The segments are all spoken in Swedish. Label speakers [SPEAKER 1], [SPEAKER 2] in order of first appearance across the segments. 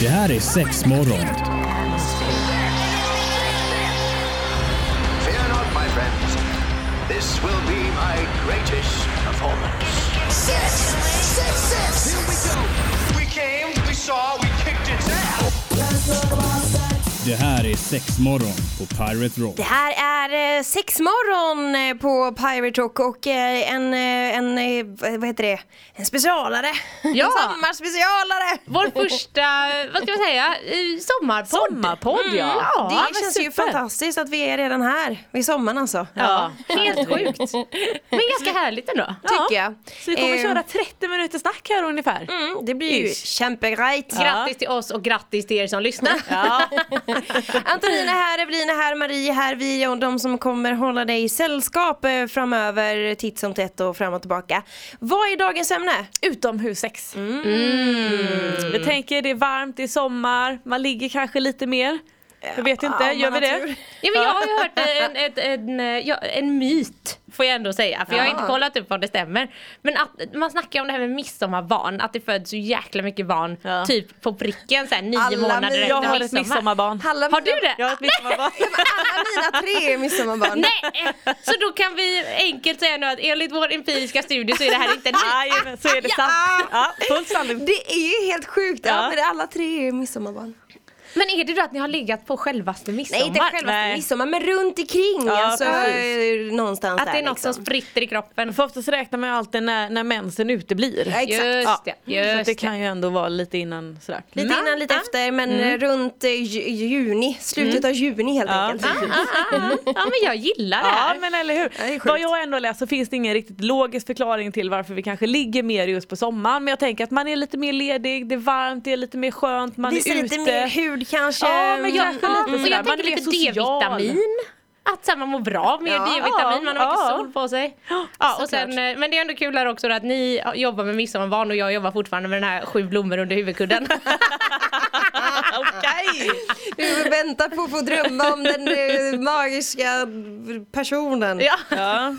[SPEAKER 1] Det här är sex morgon.
[SPEAKER 2] Fear not, my friends. This will be my greatest performance.
[SPEAKER 3] Six, six, six.
[SPEAKER 2] Here we go. We came, we saw, we kicked its ass.
[SPEAKER 1] Det här är sex morgon på Pirate Rock.
[SPEAKER 4] Det här är eh, sexmorgon eh, på Pirate Rock och eh, en, eh, en, eh, vad heter det, en specialare.
[SPEAKER 5] Ja.
[SPEAKER 4] En sommarspecialare.
[SPEAKER 5] Vår första, vad ska man säga, eh, sommarpodd. Mm,
[SPEAKER 6] Sommarpodd ja.
[SPEAKER 5] Ja,
[SPEAKER 4] Mm. det
[SPEAKER 5] men
[SPEAKER 4] känns ju
[SPEAKER 5] super.
[SPEAKER 4] fantastiskt att vi är redan här vid sommaren alltså.
[SPEAKER 5] Ja, helt sjukt. Men ganska härligt ändå.
[SPEAKER 4] Tycker jag.
[SPEAKER 6] Så vi kommer
[SPEAKER 4] Eh,
[SPEAKER 6] köra 30 minuter snack här ungefär.
[SPEAKER 4] mm, Det blir ju
[SPEAKER 6] Ish.
[SPEAKER 4] kämperajt.
[SPEAKER 5] Grattis till oss och grattis till er som lyssnar.
[SPEAKER 6] Ja.
[SPEAKER 4] Antonina här, Evelina här, Marie här, vi och de som kommer hålla dig i sällskap eh, framöver titt som tätt och fram och tillbaka. Vad är dagens ämne?
[SPEAKER 6] Utomhussex. Vi tänker det är varmt, det är sommar, man ligger kanske lite mer. Jag vet inte,
[SPEAKER 4] Ja, om
[SPEAKER 6] gör vi
[SPEAKER 4] man har
[SPEAKER 6] det?
[SPEAKER 4] tur.
[SPEAKER 5] Ja, men jag har ju hört en, ett- en, eh, ja, en myt, får jag ändå säga. För jag har
[SPEAKER 4] Ja.
[SPEAKER 5] inte kollat upp om det stämmer. Men att, man snackar ju om det här med midsommarbarn, att det föds så jäkla mycket barn
[SPEAKER 6] Ja.
[SPEAKER 5] typ på pricken så här, nio
[SPEAKER 4] Alla
[SPEAKER 5] månader
[SPEAKER 4] mi-
[SPEAKER 5] efter
[SPEAKER 6] Jag har ett midsommarbarn.
[SPEAKER 4] Alla
[SPEAKER 5] Har du det?
[SPEAKER 6] Jag har ett midsommarbarn.
[SPEAKER 4] Alla mina tre är midsommarbarn.
[SPEAKER 5] Nej! Så då kan vi enkelt säga nu att enligt vår empiriska studie så är det här inte en myt.
[SPEAKER 6] Jajamän, så är det sant. Ja, full sanning.
[SPEAKER 4] Det är ju helt sjukt. Ja,
[SPEAKER 6] Ja.
[SPEAKER 4] men det- alla tre är midsommarbarn.
[SPEAKER 5] Men är det då att ni har legat på självaste midsommar?
[SPEAKER 4] Nej, inte själva
[SPEAKER 6] Nej.
[SPEAKER 4] midsommar, men runt omkring.
[SPEAKER 6] Ja,
[SPEAKER 4] alltså,
[SPEAKER 6] precis.
[SPEAKER 4] eh, någonstans
[SPEAKER 5] Att
[SPEAKER 4] där.
[SPEAKER 5] det är något
[SPEAKER 4] liksom.
[SPEAKER 5] som spritter i kroppen.
[SPEAKER 6] För oftast räknar man ju alltid när, när mensen uteblir.
[SPEAKER 4] Ja, exakt.
[SPEAKER 5] Just det,
[SPEAKER 6] så att
[SPEAKER 5] just
[SPEAKER 6] det
[SPEAKER 5] det.
[SPEAKER 6] kan ju ändå vara lite innan sådär. Mm.
[SPEAKER 4] Lite innan, lite efter, men eh, runt eh, ju- juni, slutet av juni helt
[SPEAKER 6] Ja,
[SPEAKER 4] enkelt.
[SPEAKER 5] Ah, ah, ah. Ja men jag gillar det
[SPEAKER 6] Ja
[SPEAKER 5] här.
[SPEAKER 6] men eller
[SPEAKER 4] Ja, det är
[SPEAKER 6] hur.
[SPEAKER 4] sjukt.
[SPEAKER 6] Vad jag ändå läst så finns det ingen riktigt logisk förklaring till varför vi kanske ligger mer just på sommaren. Men jag tänker att man är lite mer ledig, det är varmt, det är lite mer skönt, man
[SPEAKER 4] Visa
[SPEAKER 6] är
[SPEAKER 4] lite
[SPEAKER 6] ute.
[SPEAKER 4] mer hud kanske.
[SPEAKER 6] Ja, men jag-
[SPEAKER 4] Mm.
[SPEAKER 5] Ja,
[SPEAKER 6] lite
[SPEAKER 5] och
[SPEAKER 6] sådär,
[SPEAKER 5] jag
[SPEAKER 6] man
[SPEAKER 5] tänker
[SPEAKER 6] är mer
[SPEAKER 5] lite
[SPEAKER 6] social.
[SPEAKER 5] D-vitamin. Att så här, man mår bra med
[SPEAKER 4] Ja,
[SPEAKER 5] D-vitamin, man har
[SPEAKER 6] ja.
[SPEAKER 5] mycket sol på sig. Ja, och sen, eh, men det är ändå kul här också att ni jobbar med midsommarbarn och jag jobbar fortfarande med den här sju blommor under huvudkudden.
[SPEAKER 6] Okej!
[SPEAKER 4] Du väntar på att få drömma om den eh, magiska personen.
[SPEAKER 5] ja.
[SPEAKER 6] Ja.
[SPEAKER 4] Eh,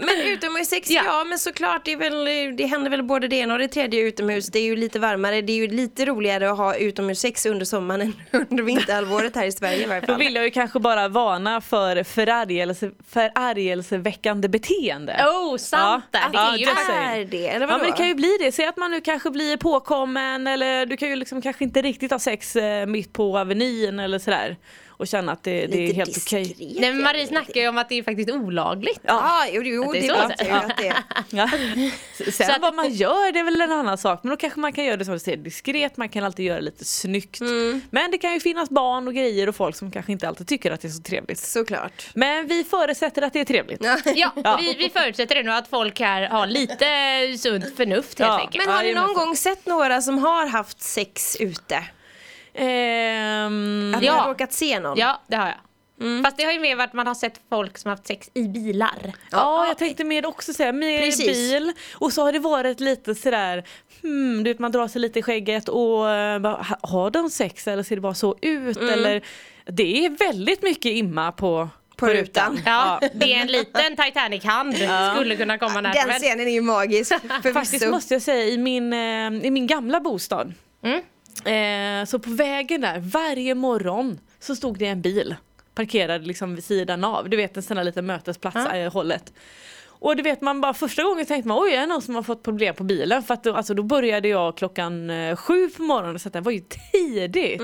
[SPEAKER 4] Men utomhussex, ja.
[SPEAKER 5] Ja.
[SPEAKER 4] ja men såklart, det, är väl, det händer väl både det ena och det tredje utomhus. Det är ju lite varmare, det är ju lite roligare att ha utomhussex under sommaren än under vinterhalvåret här i Sverige i varje
[SPEAKER 6] Då
[SPEAKER 4] fall.
[SPEAKER 6] vill jag ju kanske bara varna för förargelse, förargelseväckande beteende.
[SPEAKER 5] Oh, sant
[SPEAKER 6] Ja,
[SPEAKER 5] där. Det
[SPEAKER 6] ja,
[SPEAKER 5] är ju
[SPEAKER 6] det
[SPEAKER 5] det.
[SPEAKER 6] säger
[SPEAKER 4] Är det, eller
[SPEAKER 6] Ja
[SPEAKER 4] vadå?
[SPEAKER 6] men det kan ju bli det, säg att man nu kanske blir påkommen eller du kan ju liksom kanske inte riktigt ha sex eh, mitt på Avenyn eller sådär och känna att det, det är helt okej.
[SPEAKER 5] Nej, men Marie snackar ju om att det är faktiskt olagligt.
[SPEAKER 4] Ja, ah, jo, jo
[SPEAKER 5] Att det
[SPEAKER 4] det,
[SPEAKER 5] är
[SPEAKER 4] det
[SPEAKER 5] så
[SPEAKER 4] vet
[SPEAKER 5] det
[SPEAKER 4] jag
[SPEAKER 5] är.
[SPEAKER 4] ju att det är.
[SPEAKER 6] Ja. S- Sen
[SPEAKER 5] Så att-
[SPEAKER 6] vad man gör det är väl en annan sak men då kanske man kan göra det som du säger diskret, man kan alltid göra det lite snyggt. Men det kan ju finnas barn och grejer och folk som kanske inte alltid tycker att det är så trevligt.
[SPEAKER 4] Såklart.
[SPEAKER 6] Men vi förutsätter att det är trevligt.
[SPEAKER 5] Ja, Vi, vi förutsätter det nu att folk här har lite sunt förnuft helt
[SPEAKER 6] Ja.
[SPEAKER 5] enkelt.
[SPEAKER 4] Men har ni någon
[SPEAKER 6] Jajamensan.
[SPEAKER 4] gång sett några som har haft sex ute?
[SPEAKER 6] Ehm,
[SPEAKER 4] Att
[SPEAKER 5] Ja.
[SPEAKER 4] ni har råkat se någon?
[SPEAKER 5] Ja, det har jag. Fast det har ju mer varit att man har sett folk som har haft sex i bilar.
[SPEAKER 6] Ja, jag tänkte mer också säga mer
[SPEAKER 4] Precis.
[SPEAKER 6] bil och så har det varit lite sådär hmm, du vet man drar sig lite i skägget och eh, bara, ha- har de sex eller ser det bara så ut eller det är väldigt mycket imma på
[SPEAKER 4] På rutan.
[SPEAKER 5] Ja, det är en liten Titanic-hand skulle kunna komma när som
[SPEAKER 4] Den
[SPEAKER 5] helst.
[SPEAKER 4] scenen är ju magisk
[SPEAKER 6] Faktiskt
[SPEAKER 4] förvisso.
[SPEAKER 6] måste jag säga i min, eh, i min gamla bostad
[SPEAKER 5] Mm.
[SPEAKER 6] eh, så på vägen där varje morgon så stod det en bil parkerad liksom vid sidan av, du vet en sån där liten mötesplats eh, hållet. Och du vet man bara första gången tänkte man oj är det någon som har fått problem på bilen för att då, alltså, då började jag klockan eh, sju på morgonen så att det var ju tidigt.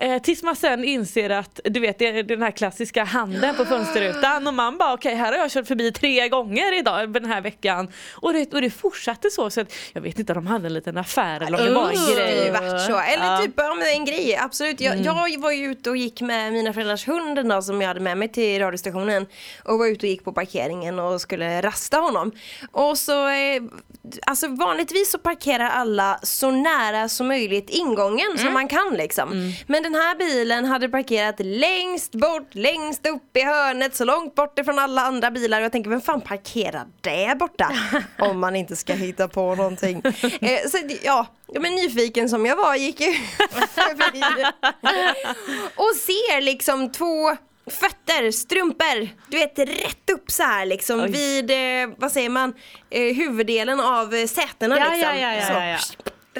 [SPEAKER 6] Eh, tills man sen inser att du vet det är den här klassiska handen på fönsterrutan och man bara okej här har jag kört förbi tre gånger idag den här veckan. Och det, och det fortsatte så så att jag vet inte om de hade en liten affär eller om det var en
[SPEAKER 4] Usch, Det har ju
[SPEAKER 6] grej.
[SPEAKER 4] varit så. Eller
[SPEAKER 6] Ja. Mm.
[SPEAKER 4] typ ja, men en grej, absolut. Jag, jag var ju ute och gick med mina föräldrars hund en dag som jag hade med mig till radiostationen. Och var ute och gick på parkeringen och skulle rasta honom. Och så, eh, alltså vanligtvis så parkerar alla så nära som möjligt ingången
[SPEAKER 6] Mm.
[SPEAKER 4] som man kan liksom. Men den här bilen hade parkerat längst bort, längst upp i hörnet, så långt bort ifrån alla andra bilar. Och jag tänker, vem fan parkerar där borta? Om man inte ska hitta på någonting. Eh, så, det- ja, ja, men nyfiken som jag var gick ju förbi och ser liksom två fötter, strumpor, du vet rätt upp så här liksom
[SPEAKER 6] Oj.
[SPEAKER 4] vid, eh, vad säger man, eh, huvuddelen av eh, sätena
[SPEAKER 5] Ja,
[SPEAKER 4] liksom.
[SPEAKER 5] ja, ja, ja,
[SPEAKER 4] så.
[SPEAKER 5] ja, ja.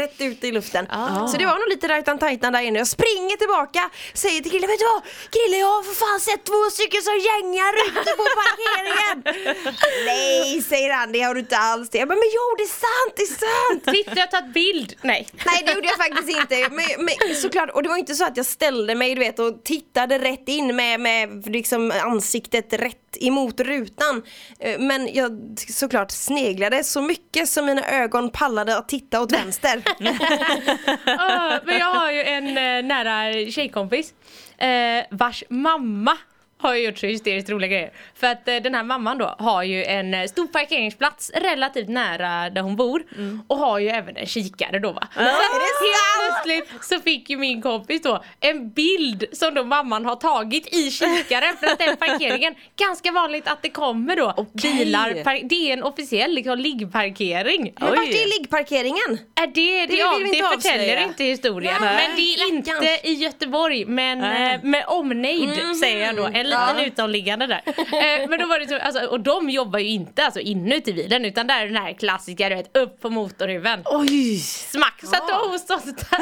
[SPEAKER 4] rätt ut i luften. Så det var nog lite rajtan tajtan där inne. Jag springer tillbaka, säger till killen, vet du vad? Krille jag har för fan sett två stycken som gängar ute på parkeringen. Nej säger han, det har du inte alls. Jag bara, men jo det är sant, det är sant.
[SPEAKER 5] Titta jag har tagit bild! Nej.
[SPEAKER 4] Nej det gjorde jag faktiskt inte. Men, men, såklart, och det var inte så att jag ställde mig du vet, och tittade rätt in med, med liksom ansiktet rätt emot rutan. Eh, Men jag såklart sneglade så mycket som mina ögon pallade att titta åt vänster.
[SPEAKER 5] Ja, Ah, men jag har ju en eh, nära tjejkompis eh, vars mamma har ju gjort så hysteriskt roliga grejer. För att eh, den här mamman då har ju en eh, stor parkeringsplats relativt nära där hon bor och har ju även en kikare då va. Så helt plötsligt så fick ju min kompis då en bild som då mamman har tagit i kikaren för att den parkeringen, ganska vanligt att det kommer då bilar, par- det är en officiell liksom, liggparkering.
[SPEAKER 4] Men vart är liggparkeringen?
[SPEAKER 5] Är Äh, det, det,
[SPEAKER 4] vill
[SPEAKER 5] ja,
[SPEAKER 4] vi
[SPEAKER 5] det
[SPEAKER 4] inte
[SPEAKER 5] förtäljer
[SPEAKER 4] avslöja.
[SPEAKER 5] inte historien.
[SPEAKER 4] Nej.
[SPEAKER 5] Men det är inte i Göteborg, men
[SPEAKER 6] Nej.
[SPEAKER 5] eh, med omnejd
[SPEAKER 4] Mhm.
[SPEAKER 5] säger jag då. En liten utomliggande där. Eh, men då var det så, alltså, och de jobbar ju inte alltså, inuti bilen utan där är den här klassiska, du vet, upp på motorhuven.
[SPEAKER 6] Oj!
[SPEAKER 5] Smack! Så att då har hon stått där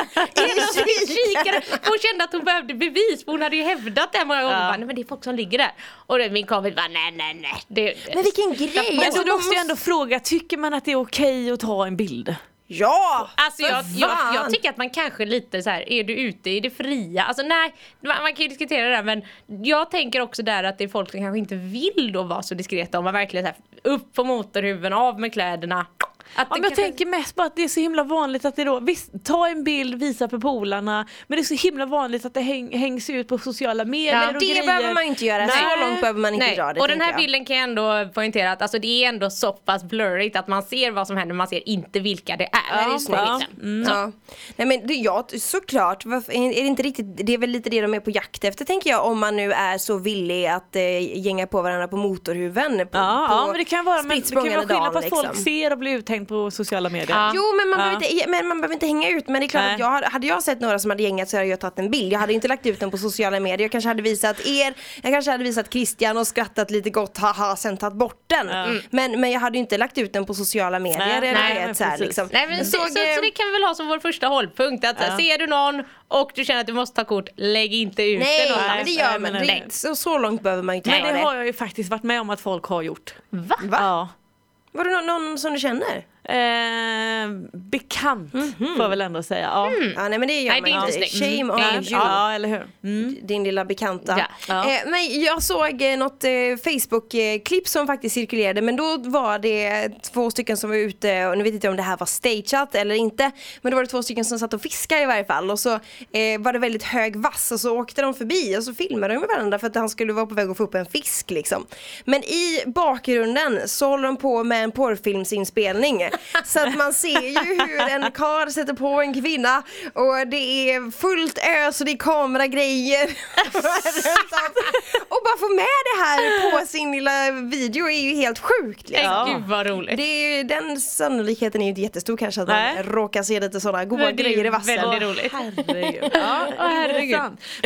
[SPEAKER 5] och kikade. Hon kände att hon behövde bevis för hon hade ju hävdat det här många gånger.
[SPEAKER 6] Ja.
[SPEAKER 5] Bara, nej men det är folk som ligger där. Och då min kompis bara nej nej nej. Det,
[SPEAKER 4] Men vilken grej!
[SPEAKER 6] Men
[SPEAKER 4] Alltså,
[SPEAKER 6] då måste jag ändå fråga, tycker man att det är okej att ta en bild?
[SPEAKER 4] Ja!
[SPEAKER 6] Ah.
[SPEAKER 5] Alltså jag,
[SPEAKER 4] För
[SPEAKER 5] jag,
[SPEAKER 4] fan!
[SPEAKER 5] jag tycker att man kanske lite så här, är du ute i det fria? Alltså nej, man, man kan ju diskutera det där men jag tänker också där att det är folk som kanske inte vill då vara så diskreta om man verkligen så här, upp på motorhuven, av med kläderna. Att
[SPEAKER 6] Ja, men jag tänker mest bara att det är så himla vanligt att det då, visst ta en bild, visa för polarna men det är så himla vanligt att det häng, hängs ut på sociala medier
[SPEAKER 5] Ja.
[SPEAKER 6] och
[SPEAKER 4] Det
[SPEAKER 6] grejer.
[SPEAKER 4] behöver man inte göra, så
[SPEAKER 5] Nej.
[SPEAKER 4] långt behöver man inte
[SPEAKER 5] Nej.
[SPEAKER 4] dra det.
[SPEAKER 5] och den
[SPEAKER 4] tänker
[SPEAKER 5] här
[SPEAKER 4] jag.
[SPEAKER 5] bilden kan jag ändå poängtera att alltså, det är ändå så pass blurrigt att man ser vad som händer man ser inte vilka det är.
[SPEAKER 4] Ja, Liksom. det är snyggt.
[SPEAKER 5] Ja.
[SPEAKER 4] Mm. Ja. Nej men det, ja, såklart, Varför, är är det inte riktigt, det är väl lite det de är på jakt efter tänker jag om man nu är så villig att eh, gänga på varandra på motorhuven. På,
[SPEAKER 6] Ja,
[SPEAKER 4] på
[SPEAKER 6] ja men det kan vara, men,
[SPEAKER 4] spritt
[SPEAKER 6] det kan vara
[SPEAKER 4] språngande dagen,
[SPEAKER 6] skillnad på att folk
[SPEAKER 4] liksom.
[SPEAKER 6] ser och blir uthängd på sociala medier.
[SPEAKER 5] Ja.
[SPEAKER 4] Jo men man,
[SPEAKER 6] Ja.
[SPEAKER 4] behöver inte, men man behöver inte hänga ut men det är klart
[SPEAKER 6] Nej.
[SPEAKER 4] att jag, hade- hade jag sett några som hade gängat så hade jag tagit en bild. Jag hade inte lagt ut den på sociala medier. Jag kanske hade visat er, jag kanske hade visat Christian och skrattat lite gott haha sen tagit bort den. Mm. Men, men jag hade ju inte lagt ut den på sociala medier.
[SPEAKER 6] Nej,
[SPEAKER 4] eller du
[SPEAKER 6] nej,
[SPEAKER 4] vet,
[SPEAKER 6] men
[SPEAKER 4] så här,
[SPEAKER 6] precis.
[SPEAKER 4] liksom.
[SPEAKER 5] Nej, men
[SPEAKER 4] Jag
[SPEAKER 5] så, så,
[SPEAKER 4] såg,
[SPEAKER 5] så
[SPEAKER 4] eh,
[SPEAKER 5] det kan vi väl ha som vår första hållpunkt att
[SPEAKER 6] Ja.
[SPEAKER 5] ja. ser du någon och du känner att du måste ta kort, lägg inte ut
[SPEAKER 4] Nej,
[SPEAKER 5] det
[SPEAKER 4] men det gör man
[SPEAKER 5] Nej.
[SPEAKER 4] inte. Så, så långt behöver man ju inte
[SPEAKER 6] Men
[SPEAKER 4] göra
[SPEAKER 6] det
[SPEAKER 4] det.
[SPEAKER 6] har jag ju faktiskt varit med om att folk har gjort.
[SPEAKER 5] Va?
[SPEAKER 6] Ja.
[SPEAKER 4] Var det någon, någon som du känner?
[SPEAKER 6] Eh, bekant
[SPEAKER 4] Mhm.
[SPEAKER 6] får jag väl ändå säga. Ja.
[SPEAKER 4] Ja, nej men det gör
[SPEAKER 5] Nej, det
[SPEAKER 4] man
[SPEAKER 5] är
[SPEAKER 4] inte.
[SPEAKER 5] inte snyggt.
[SPEAKER 4] Shame on
[SPEAKER 5] Mm.
[SPEAKER 4] you.
[SPEAKER 6] ja, eller hur? Mm.
[SPEAKER 4] Din lilla bekanta.
[SPEAKER 5] Ja.
[SPEAKER 6] Ja.
[SPEAKER 4] Eh, men jag såg eh, något eh, Facebook-klipp som faktiskt cirkulerade men då var det två stycken som var ute, och nu vet inte jag om det här var stageat eller inte, men då var det två stycken som satt och fiskade i varje fall och så eh, var det väldigt hög vass och så åkte de förbi och så filmade de med varandra för att han skulle vara på väg att få upp en fisk liksom. Men i bakgrunden så håller de på med en porrfilmsinspelning så att man ser ju hur en karl sätter på en kvinna och det är fullt ös och det är kameragrejer och bara få med det här på sin lilla video är ju helt sjukt. Liksom.
[SPEAKER 5] Nej, Gud vad roligt.
[SPEAKER 4] Det är ju, den sannolikheten är ju inte jättestor kanske att
[SPEAKER 6] Nej.
[SPEAKER 4] man råkar se lite sådana goa
[SPEAKER 5] Men det är ju
[SPEAKER 4] grejer i vassen.
[SPEAKER 5] väldigt roligt.
[SPEAKER 6] Herregud. Ja, herregud.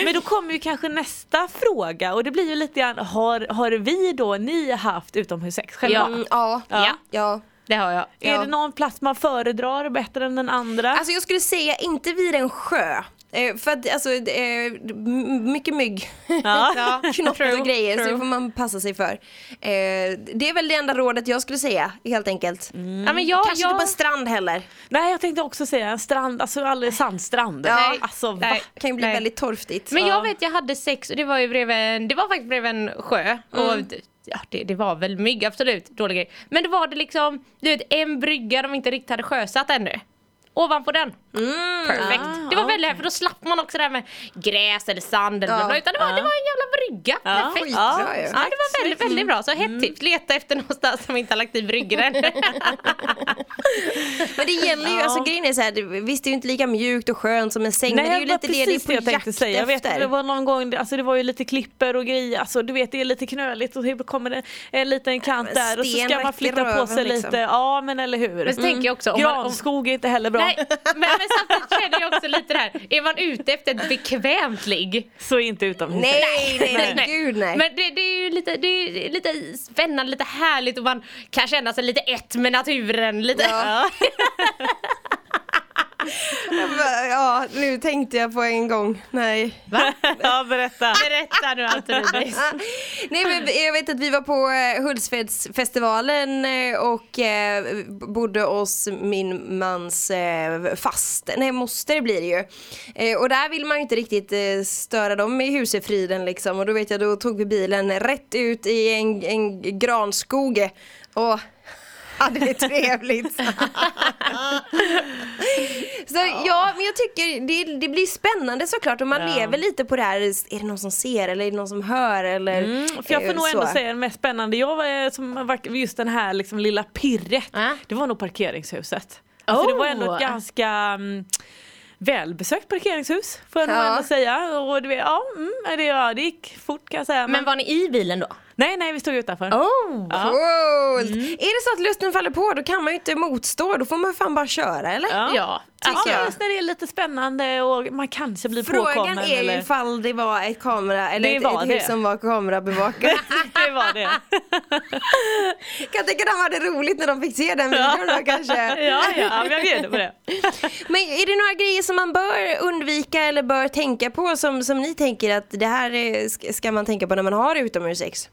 [SPEAKER 6] Men då kommer ju kanske nästa fråga och det blir ju lite grann, har, har vi då, ni haft utomhussex själva?
[SPEAKER 5] Ja.
[SPEAKER 4] Mm, ja.
[SPEAKER 5] Ja.
[SPEAKER 4] ja.
[SPEAKER 5] Det har jag.
[SPEAKER 6] Är det någon plats man föredrar bättre än den andra?
[SPEAKER 4] Alltså jag skulle säga inte vid en sjö. Eh, för att alltså, det är m- mycket mygg,
[SPEAKER 6] Ja.
[SPEAKER 4] knott
[SPEAKER 5] True,
[SPEAKER 4] och grejer så
[SPEAKER 5] true.
[SPEAKER 4] det får man passa sig för. Eh, det är väl det enda rådet jag skulle säga helt enkelt.
[SPEAKER 5] Mm. Ja, men jag,
[SPEAKER 4] Mm. Kanske
[SPEAKER 5] jag...
[SPEAKER 4] inte på en strand heller.
[SPEAKER 6] Nej jag tänkte också säga en strand, alltså aldrig sandstrand.
[SPEAKER 4] Ja.
[SPEAKER 5] Nej.
[SPEAKER 6] Alltså, va?
[SPEAKER 5] Nej.
[SPEAKER 4] Det kan ju bli
[SPEAKER 5] Nej.
[SPEAKER 4] väldigt torftigt.
[SPEAKER 5] Men jag vet jag hade sex och det var ju bredvid en, det var faktiskt bredvid en sjö
[SPEAKER 4] Mm.
[SPEAKER 5] och ja, det, det var väl mygg absolut, dålig grej. Men det var det liksom, du vet en brygga de inte riktigt hade sjösatt ännu. Ovanpå den.
[SPEAKER 4] Mm.
[SPEAKER 5] Perfekt.
[SPEAKER 6] Ah,
[SPEAKER 5] det var väldigt här för då slapp man också det här med gräs eller sand eller
[SPEAKER 4] Ja.
[SPEAKER 5] bla, bla, utan det var, det var en jävla brygga. Perfekt.
[SPEAKER 4] Ja,
[SPEAKER 5] Ja.
[SPEAKER 4] ju.
[SPEAKER 5] det var väldigt, väldigt bra. Så hett tips,
[SPEAKER 4] Mm.
[SPEAKER 5] leta efter någonstans som inte har lagt i bryggor än.
[SPEAKER 4] Men det gäller ju, alltså grejen är så här, det- visst det är ju inte lika mjukt och skönt som en säng men det är ju
[SPEAKER 6] var
[SPEAKER 4] lite det det är
[SPEAKER 6] precis
[SPEAKER 4] på
[SPEAKER 6] jag tänkte
[SPEAKER 4] jakt
[SPEAKER 6] säga. Jag vet,
[SPEAKER 4] efter.
[SPEAKER 6] det var någon gång, alltså det var ju lite klipper och grejer, alltså du vet det är lite knöligt och så kommer det en liten kant
[SPEAKER 4] men
[SPEAKER 6] där och så
[SPEAKER 4] sten
[SPEAKER 6] ska man
[SPEAKER 4] rätt i
[SPEAKER 6] flytta på
[SPEAKER 4] röven,
[SPEAKER 6] sig
[SPEAKER 4] liksom.
[SPEAKER 6] lite, ja men eller hur. Mm.
[SPEAKER 5] Men så tänker jag också om man, om,
[SPEAKER 6] Granskog är inte heller bra,
[SPEAKER 5] Nej, men, men samtidigt känner jag också lite det här, är man ute efter ett bekvämt ligg?
[SPEAKER 6] så inte utomhus.
[SPEAKER 4] Nej, nej, nej, gud nej.
[SPEAKER 5] Men det, det är ju lite, det är ju lite spännande, lite härligt och man kan känna sig lite ett med naturen. Lite.
[SPEAKER 4] Ja. Ja, nu tänkte jag på en gång. Nej.
[SPEAKER 5] Va?
[SPEAKER 6] ja, berätta.
[SPEAKER 5] Berätta nu Antonidis.
[SPEAKER 4] Nej men jag vet att vi var på eh, Hultsfredsfestivalen eh, och eh, bodde hos min mans eh, fast, nej moster blir det ju. Eh, och där vill man ju inte riktigt eh, störa dem i husefriden liksom och då vet jag då tog vi bilen rätt ut i en, en granskog och hade det trevligt. Så ja, men jag tycker det, det blir spännande såklart och man
[SPEAKER 6] Ja.
[SPEAKER 4] lever lite på det här, är det någon som ser eller är det någon som hör eller
[SPEAKER 6] Mm, För jag får
[SPEAKER 4] eh,
[SPEAKER 6] nog
[SPEAKER 4] så.
[SPEAKER 6] ändå säga den mest spännande, jag var eh, som var just den här liksom lilla pirret,
[SPEAKER 5] Ja.
[SPEAKER 6] det var nog parkeringshuset. Alltså det var ändå
[SPEAKER 5] Oh.
[SPEAKER 6] ett ganska mm, välbesökt parkeringshus får jag nog
[SPEAKER 4] Ja.
[SPEAKER 6] ändå säga. Och det, ja, mm, det, ja, det gick fort kan jag säga. Men,
[SPEAKER 5] Men var ni i bilen då?
[SPEAKER 6] Nej nej vi stod utanför.
[SPEAKER 5] Oh.
[SPEAKER 6] Ja. Mm.
[SPEAKER 4] Coolt! Är det så att lusten faller på då kan man ju inte motstå, då får man fan bara köra eller?
[SPEAKER 6] Ja.
[SPEAKER 5] Ja,
[SPEAKER 6] Ja,
[SPEAKER 4] tycker
[SPEAKER 6] men
[SPEAKER 4] jag.
[SPEAKER 6] just när det är lite spännande och man kanske blir
[SPEAKER 4] Frågan
[SPEAKER 6] påkommen.
[SPEAKER 4] är ju
[SPEAKER 6] eller...
[SPEAKER 4] ifall det var ett kamera eller
[SPEAKER 6] Det
[SPEAKER 4] ett,
[SPEAKER 6] var
[SPEAKER 4] ett
[SPEAKER 6] det.
[SPEAKER 4] hus som var kamerabevakat.
[SPEAKER 6] det var det.
[SPEAKER 4] kan tänka de hade roligt när de fick se den videon då kanske.
[SPEAKER 6] ja, ja, ja, men jag bjuder på det.
[SPEAKER 4] Men är det några grejer som man bör undvika eller bör tänka på som, som ni tänker att det här eh, sk- ska man tänka på när man har utomhussex?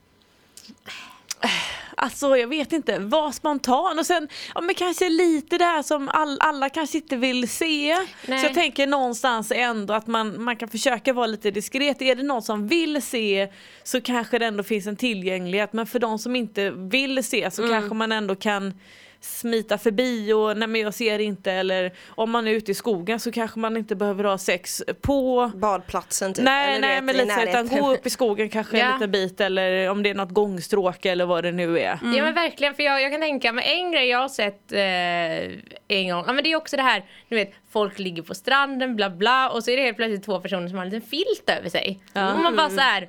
[SPEAKER 6] Alltså jag vet inte, var spontan och sen ja, men kanske lite det här som all, alla kanske inte vill se.
[SPEAKER 5] Nej.
[SPEAKER 6] Så jag tänker någonstans ändå att man, man kan försöka vara lite diskret. Är det någon som vill se så kanske det ändå finns en tillgänglighet men för de som inte vill se så
[SPEAKER 4] Mm.
[SPEAKER 6] kanske man ändå kan smita förbi och nej men jag ser inte eller om man är ute i skogen så kanske man inte behöver ha sex på
[SPEAKER 4] Badplatsen typ?
[SPEAKER 6] Nej,
[SPEAKER 4] eller
[SPEAKER 6] nej
[SPEAKER 4] vet,
[SPEAKER 6] men
[SPEAKER 4] i
[SPEAKER 6] lite så,
[SPEAKER 4] närheten.
[SPEAKER 6] utan gå upp i skogen kanske en
[SPEAKER 5] Ja.
[SPEAKER 6] liten bit eller om det är något gångstråke eller vad det nu är.
[SPEAKER 5] Ja men verkligen, för jag, jag kan tänka mig en grej jag har sett eh, en gång, ja, men det är också det här, du vet folk ligger på stranden bla bla och så är det helt plötsligt två personer som har en liten filt över sig. Och man bara så här.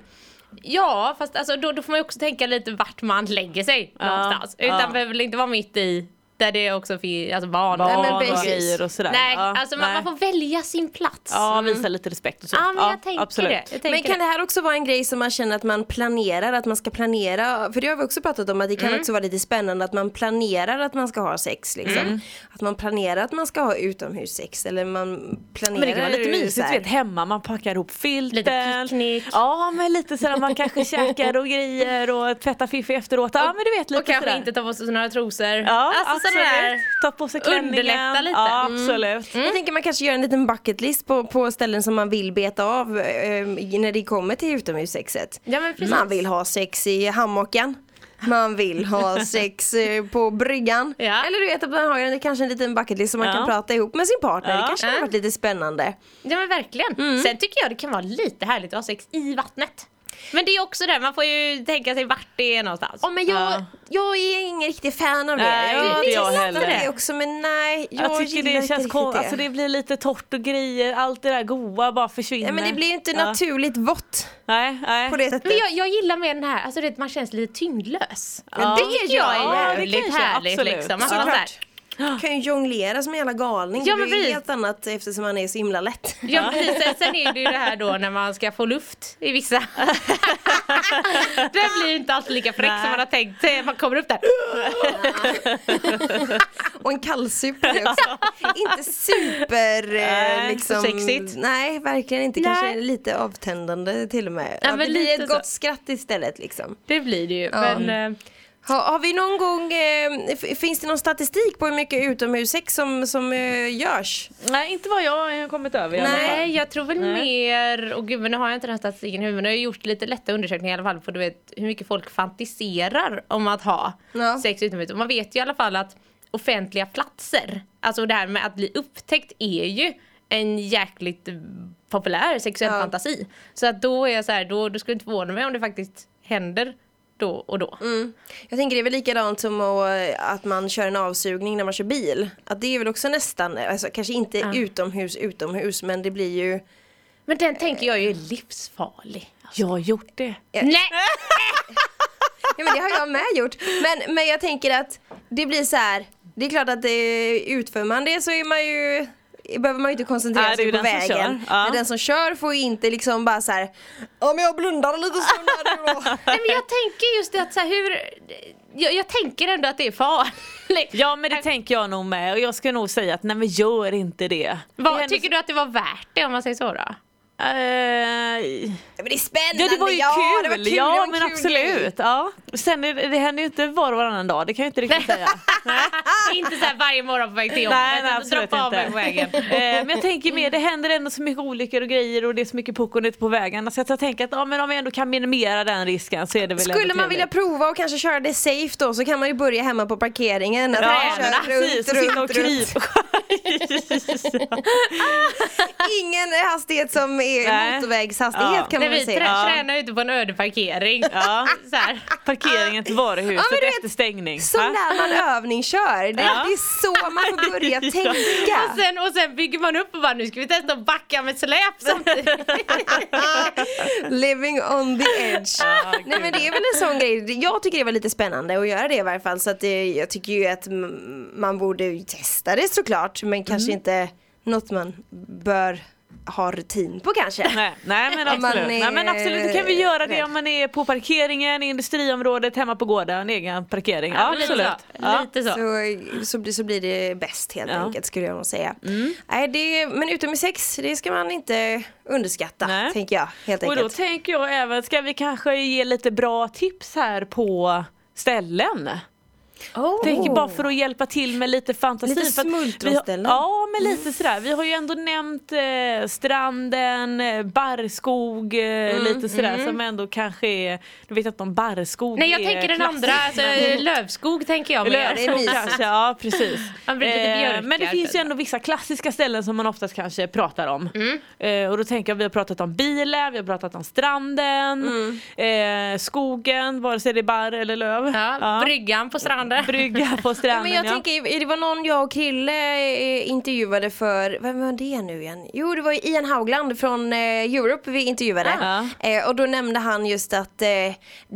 [SPEAKER 5] Ja fast alltså, då, då får man ju också tänka lite vart man lägger sig någonstans. Utan
[SPEAKER 6] ja.
[SPEAKER 5] behöver väl inte vara mitt i där det också finns alltså barn.
[SPEAKER 6] barn
[SPEAKER 4] men
[SPEAKER 6] och
[SPEAKER 4] precis.
[SPEAKER 6] grejer och sådär.
[SPEAKER 5] Nej,
[SPEAKER 6] ja,
[SPEAKER 5] alltså man, man får välja sin plats.
[SPEAKER 6] Ja, visa lite respekt och så.
[SPEAKER 5] Ja, men jag tänker
[SPEAKER 6] absolut.
[SPEAKER 5] det. Jag tänker
[SPEAKER 4] Men kan det här också vara en grej som man känner att man planerar att man ska planera? För det har vi också pratat om att det kan
[SPEAKER 6] Mm.
[SPEAKER 4] också vara lite spännande att man planerar att man ska ha sex liksom.
[SPEAKER 6] Mm.
[SPEAKER 4] Att man planerar att man ska ha utomhussex eller man planerar
[SPEAKER 6] Men det kan vara lite
[SPEAKER 4] så
[SPEAKER 6] mysigt,
[SPEAKER 4] här.
[SPEAKER 6] du vet hemma man packar ihop filten.
[SPEAKER 5] Lite picknick.
[SPEAKER 6] Ja, men lite sådär man kanske käkar och grejer och tvättar fiffi efteråt. Ja, men du vet lite
[SPEAKER 5] och kanske
[SPEAKER 6] sådär.
[SPEAKER 5] inte ta på sig några trosor.
[SPEAKER 6] Ja,
[SPEAKER 5] alltså sådana
[SPEAKER 6] absolut.
[SPEAKER 5] där.
[SPEAKER 6] Ta på sig klänningen.
[SPEAKER 5] Underlätta lite.
[SPEAKER 6] Ja,
[SPEAKER 5] Mm.
[SPEAKER 6] absolut.
[SPEAKER 4] Jag tänker man kanske gör en liten bucket list på, på ställen som man vill beta av eh, när det kommer till utomhussexet.
[SPEAKER 5] Ja, men precis.
[SPEAKER 4] man vill ha sex i hammocken. Man vill ha sex eh, på bryggan.
[SPEAKER 5] Ja.
[SPEAKER 4] Eller du vet att man har en, kanske en liten bucket list som man
[SPEAKER 6] Ja.
[SPEAKER 4] kan prata ihop med sin partner. Det
[SPEAKER 6] Ja.
[SPEAKER 4] kanske har varit lite spännande.
[SPEAKER 5] Ja men verkligen.
[SPEAKER 4] Mm.
[SPEAKER 5] Sen tycker jag det kan vara lite härligt att ha sex i vattnet. Men det är också det, man får ju tänka sig vart det är någonstans.
[SPEAKER 4] Ja, men jag,
[SPEAKER 6] Ja.
[SPEAKER 4] jag är ingen riktig fan av det.
[SPEAKER 6] Nej,
[SPEAKER 4] jag
[SPEAKER 6] inte jag
[SPEAKER 4] gillar
[SPEAKER 6] heller.
[SPEAKER 4] det också men nej. Jag,
[SPEAKER 6] Jag, tycker
[SPEAKER 4] gillar
[SPEAKER 6] det
[SPEAKER 4] inte
[SPEAKER 6] känns
[SPEAKER 4] riktigt
[SPEAKER 6] konstigt,
[SPEAKER 4] det.
[SPEAKER 6] alltså det blir lite torrt och grejer, allt det där goa bara försvinner.
[SPEAKER 4] ja, men det blir ju inte
[SPEAKER 6] Ja.
[SPEAKER 4] naturligt vått
[SPEAKER 6] Nej, nej.
[SPEAKER 4] på det sättet.
[SPEAKER 5] Men jag, jag gillar med den här, alltså det, man känns lite tyngdlös.
[SPEAKER 4] Ja.
[SPEAKER 5] Det tycker jag
[SPEAKER 4] Ja, det
[SPEAKER 5] är jävligt
[SPEAKER 6] kanske,
[SPEAKER 5] härligt
[SPEAKER 6] absolut.
[SPEAKER 5] liksom. Att man så här,
[SPEAKER 4] Såklart. Kan ju jonglera som en jävla galning.
[SPEAKER 5] Ja,
[SPEAKER 4] det
[SPEAKER 5] men
[SPEAKER 4] blir ju
[SPEAKER 5] precis.
[SPEAKER 4] helt annat eftersom man är så himla lätt.
[SPEAKER 5] Ja precis, Sen- sen är det ju det här då när man ska få luft i vissa. Den blir ju inte alltid lika fräck som man har tänkt sig. Man kommer upp där.
[SPEAKER 4] Och en kallsup på det också. inte super... eh,
[SPEAKER 6] Nej,
[SPEAKER 4] liksom,
[SPEAKER 6] sexigt.
[SPEAKER 4] Nej, verkligen inte.
[SPEAKER 5] Nej.
[SPEAKER 4] Kanske lite avtändande till och med. Ja,
[SPEAKER 5] men
[SPEAKER 4] det blir
[SPEAKER 5] lite
[SPEAKER 4] ett
[SPEAKER 5] så.
[SPEAKER 4] gott skratt istället liksom.
[SPEAKER 5] Det blir det ju.
[SPEAKER 4] Ja.
[SPEAKER 5] Men, eh,
[SPEAKER 4] Ha, har vi någon gång, eh, f- finns det någon statistik på hur mycket utomhussex som, som eh, görs?
[SPEAKER 6] Nej, inte vad jag har kommit över i alla fall.
[SPEAKER 5] Nej, jag tror väl mer... Och gud, men nu har jag inte den här statistiken i huvudet. Men jag har gjort lite lätta undersökningar i alla fall på du vet, hur mycket folk fantiserar om att ha
[SPEAKER 4] Ja.
[SPEAKER 5] sex utomhus. Och man vet ju i alla fall att offentliga platser, alltså det här med att bli upptäckt är ju en jäkligt populär sexuell
[SPEAKER 4] Ja.
[SPEAKER 5] fantasi. Så att då är jag så här, då, då skulle det inte förvåna mig om det faktiskt händer då och då.
[SPEAKER 4] Jag tänker det är väl likadant som att, eh, att man kör en avsugning när man kör bil. Att det är väl också nästan, alltså, kanske inte utomhus utomhus men det blir ju
[SPEAKER 5] Men den tänker jag ju är livsfarlig.
[SPEAKER 6] Jag har gjort det.
[SPEAKER 5] Nej!
[SPEAKER 4] Ja men det har jag med gjort. Men, men jag tänker att det blir så här. Det är klart att det, utför man det så är man ju behöver man ju inte koncentrera
[SPEAKER 6] Nej, det är
[SPEAKER 4] sig
[SPEAKER 6] ju
[SPEAKER 4] på
[SPEAKER 6] den som
[SPEAKER 4] vägen.
[SPEAKER 6] kör. Ja.
[SPEAKER 4] Men den som kör får ju inte liksom bara så här. om jag blundar en liten stund här nu då.
[SPEAKER 5] Nej men jag tänker just det att så här, hur, jag, jag tänker ändå att det är farligt.
[SPEAKER 6] Ja men det tänker jag nog med och jag ska nog säga att nej men gör inte det.
[SPEAKER 5] Vad, tycker du att det var värt det om man säger så då?
[SPEAKER 6] Eh,
[SPEAKER 4] Men det är spännande,
[SPEAKER 6] Ja det var ju kul!
[SPEAKER 4] det var kul,
[SPEAKER 6] ja
[SPEAKER 4] det var en
[SPEAKER 6] men
[SPEAKER 4] kul grej.
[SPEAKER 6] absolut! Ja. Sen är, det- det händer ju inte var och varannan dag, det kan jag inte riktigt säga.
[SPEAKER 5] Det är inte så här varje morgon på väg till jobbet.
[SPEAKER 6] Nej, nej
[SPEAKER 5] att
[SPEAKER 6] absolut
[SPEAKER 5] droppa av mig
[SPEAKER 6] inte.
[SPEAKER 5] på vägen.
[SPEAKER 6] Eh, men jag tänker mer, det händer ändå så mycket olyckor och grejer och det är så mycket puckon ute på vägarna så att jag tänker att ja, men om vi ändå kan minimera den risken så är det väl
[SPEAKER 4] Skulle
[SPEAKER 6] ändå
[SPEAKER 4] man vilja
[SPEAKER 6] trevligt.
[SPEAKER 4] prova och kanske köra det safe då så kan man ju börja hemma på parkeringen. Att man kör
[SPEAKER 6] Ja, precis, och sitta och krypa.
[SPEAKER 4] Ingen hastighet som är
[SPEAKER 6] Nej.
[SPEAKER 4] motorvägshastighet
[SPEAKER 6] Ja.
[SPEAKER 4] kan
[SPEAKER 5] När
[SPEAKER 4] man
[SPEAKER 5] vi
[SPEAKER 4] väl
[SPEAKER 5] trä-
[SPEAKER 4] säga.
[SPEAKER 5] tränar ute på en öde parkering.
[SPEAKER 6] Ja.
[SPEAKER 5] Så här.
[SPEAKER 6] Parkeringen till varuhuset
[SPEAKER 4] Ja, men du vet,
[SPEAKER 6] efter stängning.
[SPEAKER 4] Som
[SPEAKER 6] Va?
[SPEAKER 4] när man övningskör. Det,
[SPEAKER 6] Ja. Alltså.
[SPEAKER 4] det är så man får börja tänka.
[SPEAKER 5] Och sen, och sen bygger man upp och bara nu ska vi testa att backa med släp samtidigt.
[SPEAKER 4] Living on the edge. Nej men det är väl en sån grej. Jag tycker det var lite spännande att göra det i varje fall. Så att eh, jag tycker ju att mm, man borde ju testa det såklart. Men kanske
[SPEAKER 6] Mm.
[SPEAKER 4] inte något man bör ha rutin på kanske.
[SPEAKER 6] Nej, nej men
[SPEAKER 4] Om man
[SPEAKER 6] absolut. Nej, men
[SPEAKER 4] är
[SPEAKER 6] absolut. Då kan vi göra det
[SPEAKER 4] rädd.
[SPEAKER 6] om man är på parkeringen, i industriområdet, hemma på gården, egen parkering. Ja,
[SPEAKER 5] lite
[SPEAKER 6] absolut.
[SPEAKER 5] Så.
[SPEAKER 6] Ja.
[SPEAKER 5] Lite så.
[SPEAKER 4] Så, så, blir- så blir det bäst helt
[SPEAKER 6] Ja. Mm.
[SPEAKER 4] enkelt skulle jag nog säga. Nej, det, men utom i sex, det ska man inte underskatta
[SPEAKER 6] Nej.
[SPEAKER 4] tänker jag helt
[SPEAKER 6] Och
[SPEAKER 4] enkelt.
[SPEAKER 6] då tänker jag även, ska vi kanske ge lite bra tips här på ställen?
[SPEAKER 4] Oh.
[SPEAKER 6] Tänker bara för att hjälpa till med lite fantasi.
[SPEAKER 4] Lite
[SPEAKER 6] för att vi har-
[SPEAKER 4] smultronställen. Mm.
[SPEAKER 6] Ja, men lite sådär. Vi har ju ändå nämnt eh, stranden, eh, barrskog, eh,
[SPEAKER 5] Mm,
[SPEAKER 6] lite sådär som ändå kanske är, du vet att de barrskog
[SPEAKER 5] Nej jag
[SPEAKER 6] är
[SPEAKER 5] tänker den
[SPEAKER 6] klass-
[SPEAKER 5] andra, alltså, lövskog tänker jag. mer.
[SPEAKER 4] det är
[SPEAKER 6] Lövskog
[SPEAKER 4] mysigt.
[SPEAKER 6] kanske, ja precis.
[SPEAKER 5] Man blir lite
[SPEAKER 6] Eh,
[SPEAKER 5] björkar,
[SPEAKER 6] men det finns ju
[SPEAKER 5] kanske.
[SPEAKER 6] ändå vissa klassiska ställen som man oftast kanske pratar om. Eh, och då tänker jag, vi har pratat om bilen, vi har pratat om stranden, eh, skogen, vare sig det är barr eller löv.
[SPEAKER 5] Ja,
[SPEAKER 6] Ja.
[SPEAKER 5] Bryggan på stranden.
[SPEAKER 6] Brygga på stranden
[SPEAKER 4] Men jag tänker, det var någon jag och Krille eh, intervjuade för, vem var det nu igen? Jo det var ju Ian Haugland från eh, Europe vi intervjuade.
[SPEAKER 6] Ah.
[SPEAKER 4] Eh, och då nämnde han just att eh,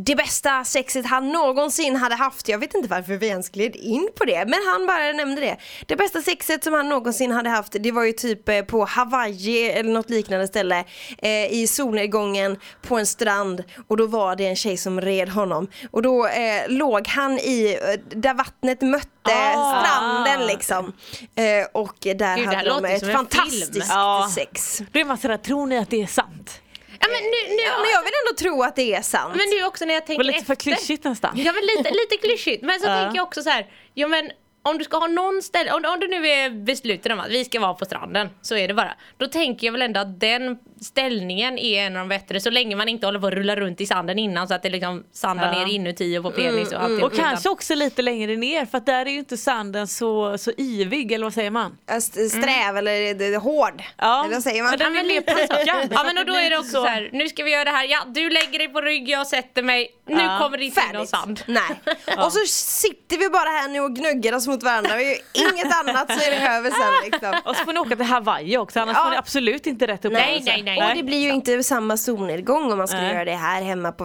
[SPEAKER 4] det bästa sexet han någonsin hade haft, jag vet inte varför vi ens gled in på det, men han bara nämnde det. Det bästa sexet som han någonsin hade haft, det var ju typ eh, på Hawaii eller något liknande ställe eh, i solnedgången på en strand och då var det en tjej som red honom och då eh, låg han i, eh, där vattnet mötte
[SPEAKER 6] Ah.
[SPEAKER 4] eh, stranden liksom. Eh, och där
[SPEAKER 5] Gud, det här
[SPEAKER 4] hade de
[SPEAKER 5] låter som
[SPEAKER 4] ett
[SPEAKER 5] en
[SPEAKER 4] fantastiskt
[SPEAKER 5] film.
[SPEAKER 6] Ja.
[SPEAKER 4] sex.
[SPEAKER 6] Då är man sådär, tror ni att det är sant?
[SPEAKER 5] Ja, men, nu, nu,
[SPEAKER 4] Ja, men jag vill ändå tro att det är sant.
[SPEAKER 5] men nu också när jag
[SPEAKER 6] Det
[SPEAKER 5] tänker
[SPEAKER 6] var lite för
[SPEAKER 5] efter.
[SPEAKER 6] klyschigt nästan.
[SPEAKER 5] Ja men lite, lite klyschigt. Men så
[SPEAKER 6] Ja.
[SPEAKER 5] tänker jag också så här. Ja men om du ska ha någon ställe, om, om du nu är besluten om att vi ska vara på stranden, så är det bara. Då tänker jag väl ändå att den ställningen är en av de bättre, så länge man inte håller på att rulla runt i sanden innan så att det liksom sandar
[SPEAKER 6] Ja.
[SPEAKER 5] ner inuti och på
[SPEAKER 4] Mm,
[SPEAKER 5] penis och allting.
[SPEAKER 6] Och kanske också lite längre ner för att där är ju inte sanden så, så ivig eller vad säger man?
[SPEAKER 4] Ja, st- Alltså,
[SPEAKER 5] Mm.
[SPEAKER 4] Sträv eller det- det- hård. Eller vad säger man?
[SPEAKER 6] men den är mer puckad.
[SPEAKER 5] Ja men och då är det också så här, nu ska vi göra det här, ja du lägger dig på rygg, jag sätter mig, nu
[SPEAKER 6] Ja.
[SPEAKER 5] kommer det inte in någon sand.
[SPEAKER 4] Nej. Och så sitter vi bara här nu och gnuggar oss mot varandra. Vi gör inget annat så är det över sen liksom.
[SPEAKER 6] Och så får ni åka till Hawaii också annars
[SPEAKER 4] Ja.
[SPEAKER 6] får ni absolut inte rätt upp
[SPEAKER 5] Nej, nej, nej.
[SPEAKER 4] Och det blir ju inte samma solnedgång om man skulle
[SPEAKER 6] Nej.
[SPEAKER 4] göra det här hemma på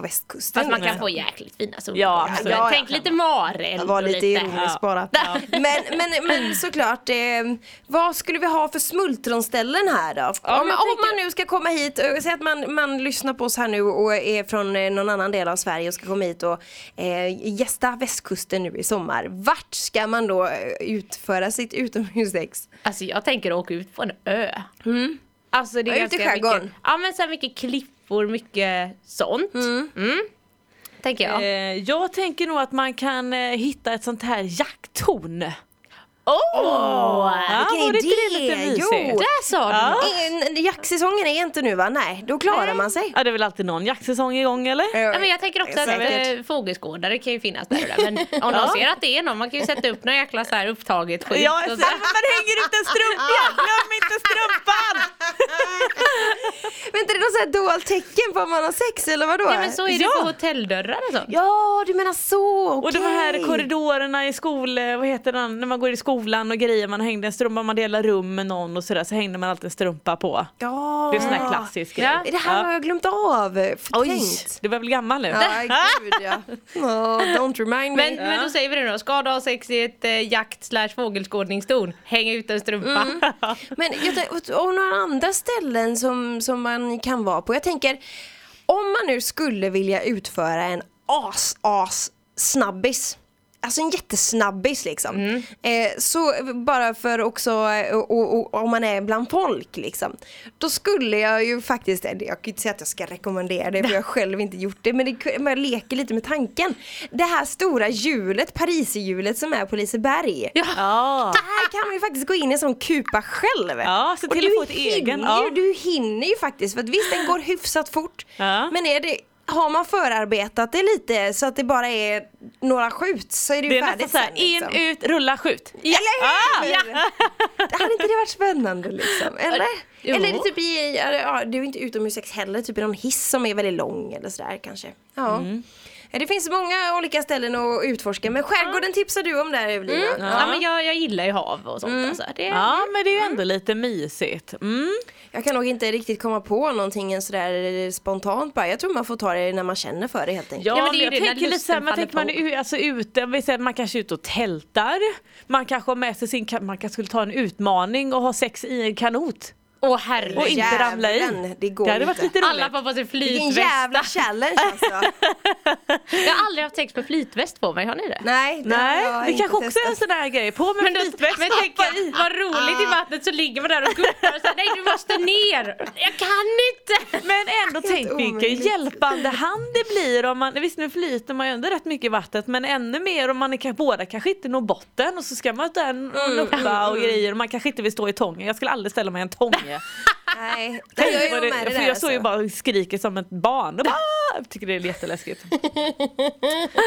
[SPEAKER 4] västkusten.
[SPEAKER 5] Fast man kan
[SPEAKER 4] liksom.
[SPEAKER 5] få jäkligt fina
[SPEAKER 6] Mm. Ja,
[SPEAKER 5] solglasögon.
[SPEAKER 6] absolut.
[SPEAKER 4] Ja, ja.
[SPEAKER 5] Tänk lite Marel.
[SPEAKER 4] Jag var lite ironisk
[SPEAKER 6] Ja.
[SPEAKER 4] bara.
[SPEAKER 5] Ja.
[SPEAKER 4] Men, men, men såklart, eh, vad skulle vi ha för smultronställen här då?
[SPEAKER 5] men
[SPEAKER 4] om,
[SPEAKER 5] jag
[SPEAKER 4] om man nu ska komma hit, eh, säg att man, man lyssnar på oss här nu och är från eh, någon annan del av Sverige och ska komma hit och eh, gästa västkusten nu i sommar. Vart ska man då eh, utföra sitt utomhussex?
[SPEAKER 5] Alltså jag tänker åka ut på en ö. Alltså det är
[SPEAKER 4] Ja, ut i
[SPEAKER 5] ganska
[SPEAKER 4] skärgården.
[SPEAKER 5] mycket, ja men så här mycket klippor, mycket sånt. Mm. Tänker jag.
[SPEAKER 6] Eh, Jag tänker nog att man kan eh, hitta ett sånt här jakttorn.
[SPEAKER 5] Åh!
[SPEAKER 6] Ja,
[SPEAKER 4] vilken
[SPEAKER 6] vore inte det
[SPEAKER 4] idé!
[SPEAKER 6] lite
[SPEAKER 4] Jo.
[SPEAKER 6] mysigt?
[SPEAKER 5] Där sa du
[SPEAKER 6] Ja.
[SPEAKER 5] något.
[SPEAKER 4] Eh, Jaktsäsongen är inte nu va? Nej, då klarar man sig.
[SPEAKER 6] Ja det är väl alltid någon jaktsäsong igång eller?
[SPEAKER 4] Eh,
[SPEAKER 5] Ja, men jag tänker också att
[SPEAKER 4] Säkert.
[SPEAKER 5] eh, fågelskådare kan ju finnas där och där. Men om de ser att det är någon, man kan ju sätta upp någon jäkla så här upptaget skit.
[SPEAKER 6] Ja,
[SPEAKER 5] och
[SPEAKER 6] så
[SPEAKER 5] så.
[SPEAKER 6] här, man hänger ut en strumpa! Glöm inte strumpan!
[SPEAKER 4] Vänta, det är någon så här dolt tecken på om man har sex eller vadå?
[SPEAKER 5] Ja men så är det på hotelldörrar och sånt.
[SPEAKER 4] Ja, du menar så, okej.
[SPEAKER 6] Och de här korridorerna i skol, eh, vad heter den, när man går i skolan och grejer, man hängde en strumpa, man delar rum med någon och sådär så hängde man alltid en strumpa på.
[SPEAKER 4] Ja.
[SPEAKER 6] Det är en sån här klassisk grej.
[SPEAKER 5] Ja.
[SPEAKER 4] Det här har jag glömt av, förträngt.
[SPEAKER 6] Du börjar bli gammal nu.
[SPEAKER 4] Ja, gud ja. Oh, don't remind me.
[SPEAKER 5] Men, men då säger vi det då, ska du ha sex i ett eh, jakt slash fågelskådningstorn, häng ut en strumpa.
[SPEAKER 4] Men jag tänk- och, och några andra ställen som, som man kan vara på. Jag tänker, om man nu skulle vilja utföra en as, as snabbis. Alltså en jättesnabbis liksom. Eh, så bara för också, eh, och, och, och, om man är bland folk liksom. Då skulle jag ju faktiskt, eh, jag kan inte säga att jag ska rekommendera det för jag har själv inte gjort det. Men det, ku- man leker lite med tanken. Det här stora hjulet, Pariserhjulet som är på Liseberg.
[SPEAKER 6] Ja.
[SPEAKER 4] Här kan man ju faktiskt gå in i en sån kupa själv.
[SPEAKER 6] Ah. Ja, se
[SPEAKER 4] Och
[SPEAKER 6] till
[SPEAKER 4] du
[SPEAKER 6] att få ett egen,
[SPEAKER 4] Hinner,
[SPEAKER 6] ja.
[SPEAKER 4] ju- Du hinner ju faktiskt, för att visst den går hyfsat fort.
[SPEAKER 6] Ja.
[SPEAKER 4] Men är det, har man förarbetat det lite så att det bara är några skjut så är det ju
[SPEAKER 6] Det är nästan
[SPEAKER 4] färdigt
[SPEAKER 6] såhär,
[SPEAKER 4] sen.
[SPEAKER 6] in,
[SPEAKER 4] liksom.
[SPEAKER 6] ut, rulla, skjut.
[SPEAKER 4] Eller hur?
[SPEAKER 6] Ja.
[SPEAKER 4] Hade inte det varit spännande liksom? Eller?
[SPEAKER 5] Jo.
[SPEAKER 4] Eller är det typ i, ja, det- ja, det är ju inte utomhussex heller, typ i någon hiss som är väldigt lång eller sådär kanske. Ja.
[SPEAKER 6] Mm.
[SPEAKER 4] Ja, Det finns många olika ställen att utforska men skärgården tipsar du om där Evelina.
[SPEAKER 6] Mm,
[SPEAKER 5] Ja, men jag, jag gillar ju hav och sånt alltså. Det,
[SPEAKER 6] Ja men det är ju ändå
[SPEAKER 4] Mm.
[SPEAKER 6] lite mysigt. Mm.
[SPEAKER 4] Jag kan nog inte riktigt komma på någonting än sådär spontant bara. Jag tror man får ta det när man känner för det helt enkelt.
[SPEAKER 6] Ja,
[SPEAKER 5] men det är
[SPEAKER 6] men
[SPEAKER 5] ju
[SPEAKER 6] jag
[SPEAKER 5] det, när
[SPEAKER 6] tänker lite
[SPEAKER 5] lusten
[SPEAKER 6] såhär, man,
[SPEAKER 5] faller
[SPEAKER 6] tänker man,
[SPEAKER 5] på.
[SPEAKER 6] är, ju- alltså, ute, vi säger att man kanske är ute och tältar. Man kanske har med sig sin, ka- man kanske skulle ta en utmaning och ha sex i en kanot.
[SPEAKER 5] Åh
[SPEAKER 6] Och
[SPEAKER 5] herregud.
[SPEAKER 6] inte ramla i.
[SPEAKER 4] Jävlen, det går
[SPEAKER 6] hade varit
[SPEAKER 4] inte.
[SPEAKER 6] lite roligt.
[SPEAKER 5] Alla får på sig
[SPEAKER 4] Vilken
[SPEAKER 5] flytväst.
[SPEAKER 4] jävla challenge alltså.
[SPEAKER 5] Jag har aldrig haft sex med flytväst på mig, har ni det?
[SPEAKER 4] Nej, det, har jag
[SPEAKER 6] Nej, det
[SPEAKER 4] inte
[SPEAKER 6] kanske också är en
[SPEAKER 4] testat.
[SPEAKER 6] sån här grej. På med
[SPEAKER 5] Men, då,
[SPEAKER 6] flytväst,
[SPEAKER 5] men tänk
[SPEAKER 6] hoppa i.
[SPEAKER 5] vad roligt i vattnet så ligger man där och guppar och säger nej du måste ner. Jag kan inte.
[SPEAKER 6] Men ändå tänk vilken
[SPEAKER 4] omöjligt.
[SPEAKER 6] hjälpande hand det blir om man, visst nu flyter man ju ändå rätt mycket i vattnet men ännu mer om man är, kanske- båda kanske inte når botten och så ska man där
[SPEAKER 5] Mm.
[SPEAKER 6] och nuppa och grejer och man kanske inte vill stå i tången. Jag skulle aldrig ställa mig i en tång.
[SPEAKER 4] Nej, Nej, jag
[SPEAKER 6] Tänk vad
[SPEAKER 4] är nog med
[SPEAKER 6] det,
[SPEAKER 4] det
[SPEAKER 6] för
[SPEAKER 4] där
[SPEAKER 6] jag står ju
[SPEAKER 4] alltså.
[SPEAKER 6] bara och skriker som ett barn. Och bara, "Ah!" jag tycker det är jätteläskigt.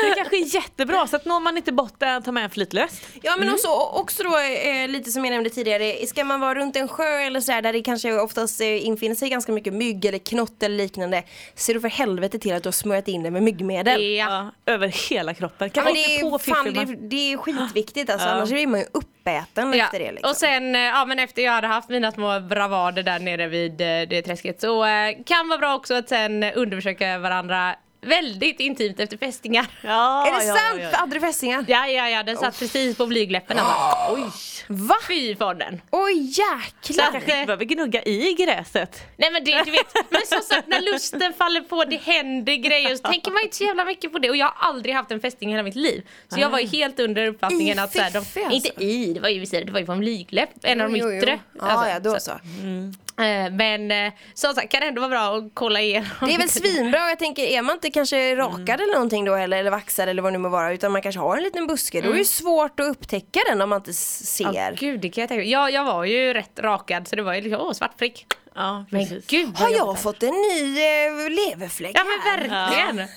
[SPEAKER 6] Det kanske är jättebra så att når man inte botten ta med en flytlöst.
[SPEAKER 4] Ja men också, också då eh, lite som jag nämnde tidigare, ska man vara runt en sjö eller sådär där det kanske oftast eh, infinner sig ganska mycket mygg eller knott eller liknande. Ser du för helvete till att du har smörjt in det med myggmedel.
[SPEAKER 5] Ja.
[SPEAKER 6] Över hela kroppen.
[SPEAKER 4] Ja,
[SPEAKER 6] Kan
[SPEAKER 4] men
[SPEAKER 6] man
[SPEAKER 4] det,
[SPEAKER 6] inte
[SPEAKER 4] är,
[SPEAKER 6] på
[SPEAKER 4] fan,
[SPEAKER 6] fiffig
[SPEAKER 4] det,
[SPEAKER 6] man-
[SPEAKER 4] är, det är skitviktigt alltså, annars blir man ju uppäten efter det. Liksom.
[SPEAKER 5] Och sen, eh, ja men efter jag hade haft mina små bravader där nere vid eh, det träsket så eh, kan vara bra också att sen eh, undersöka varandra väldigt intimt efter fästingar.
[SPEAKER 6] Ja,
[SPEAKER 4] är det
[SPEAKER 6] ja,
[SPEAKER 4] sant?
[SPEAKER 6] ja, ja.
[SPEAKER 4] Hade du fästingar?
[SPEAKER 5] Ja ja ja, den satt precis på blygdläppen. Oh. Oj! Va? Fy fånden.
[SPEAKER 4] Oj
[SPEAKER 5] Så
[SPEAKER 4] jäklar!
[SPEAKER 5] att,
[SPEAKER 6] Kanske
[SPEAKER 5] eh,
[SPEAKER 6] inte behöver gnugga i gräset.
[SPEAKER 5] Nej men det, du vet, men som sagt när lusten faller på det händer grejer så tänker man inte så jävla mycket på det och jag har aldrig haft en fästing i hela mitt liv. Så jag var ju helt under uppfattningen
[SPEAKER 4] I
[SPEAKER 5] att så här, de,
[SPEAKER 4] fiffi, alltså.
[SPEAKER 5] inte i, det var ju visst, det var ju på en blygdläpp, en av de
[SPEAKER 4] Jo, jo, jo.
[SPEAKER 5] yttre.
[SPEAKER 4] Ja,
[SPEAKER 5] Alltså,
[SPEAKER 4] ja, då så.
[SPEAKER 5] eh, men eh, som sagt kan det ändå vara bra att kolla igenom.
[SPEAKER 4] Det är väl svinbra och jag tänker är man inte kanske rakad
[SPEAKER 5] Mm.
[SPEAKER 4] eller någonting då eller, eller vaxad eller vad det nu må vara utan man kanske har en liten buske då är det ju svårt att upptäcka den om man inte s-
[SPEAKER 5] Mm. Ja,
[SPEAKER 4] ser.
[SPEAKER 5] gud, det kan jag tänka mig. Jag, jag var ju rätt rakad så det var ju liksom, åh svart prick.
[SPEAKER 6] Ja,
[SPEAKER 5] Men
[SPEAKER 6] precis.
[SPEAKER 5] gud
[SPEAKER 4] har
[SPEAKER 5] vad jobbigt.
[SPEAKER 4] jag fått en ny eh, leverfläck
[SPEAKER 5] Ja
[SPEAKER 4] här?
[SPEAKER 5] men verkligen.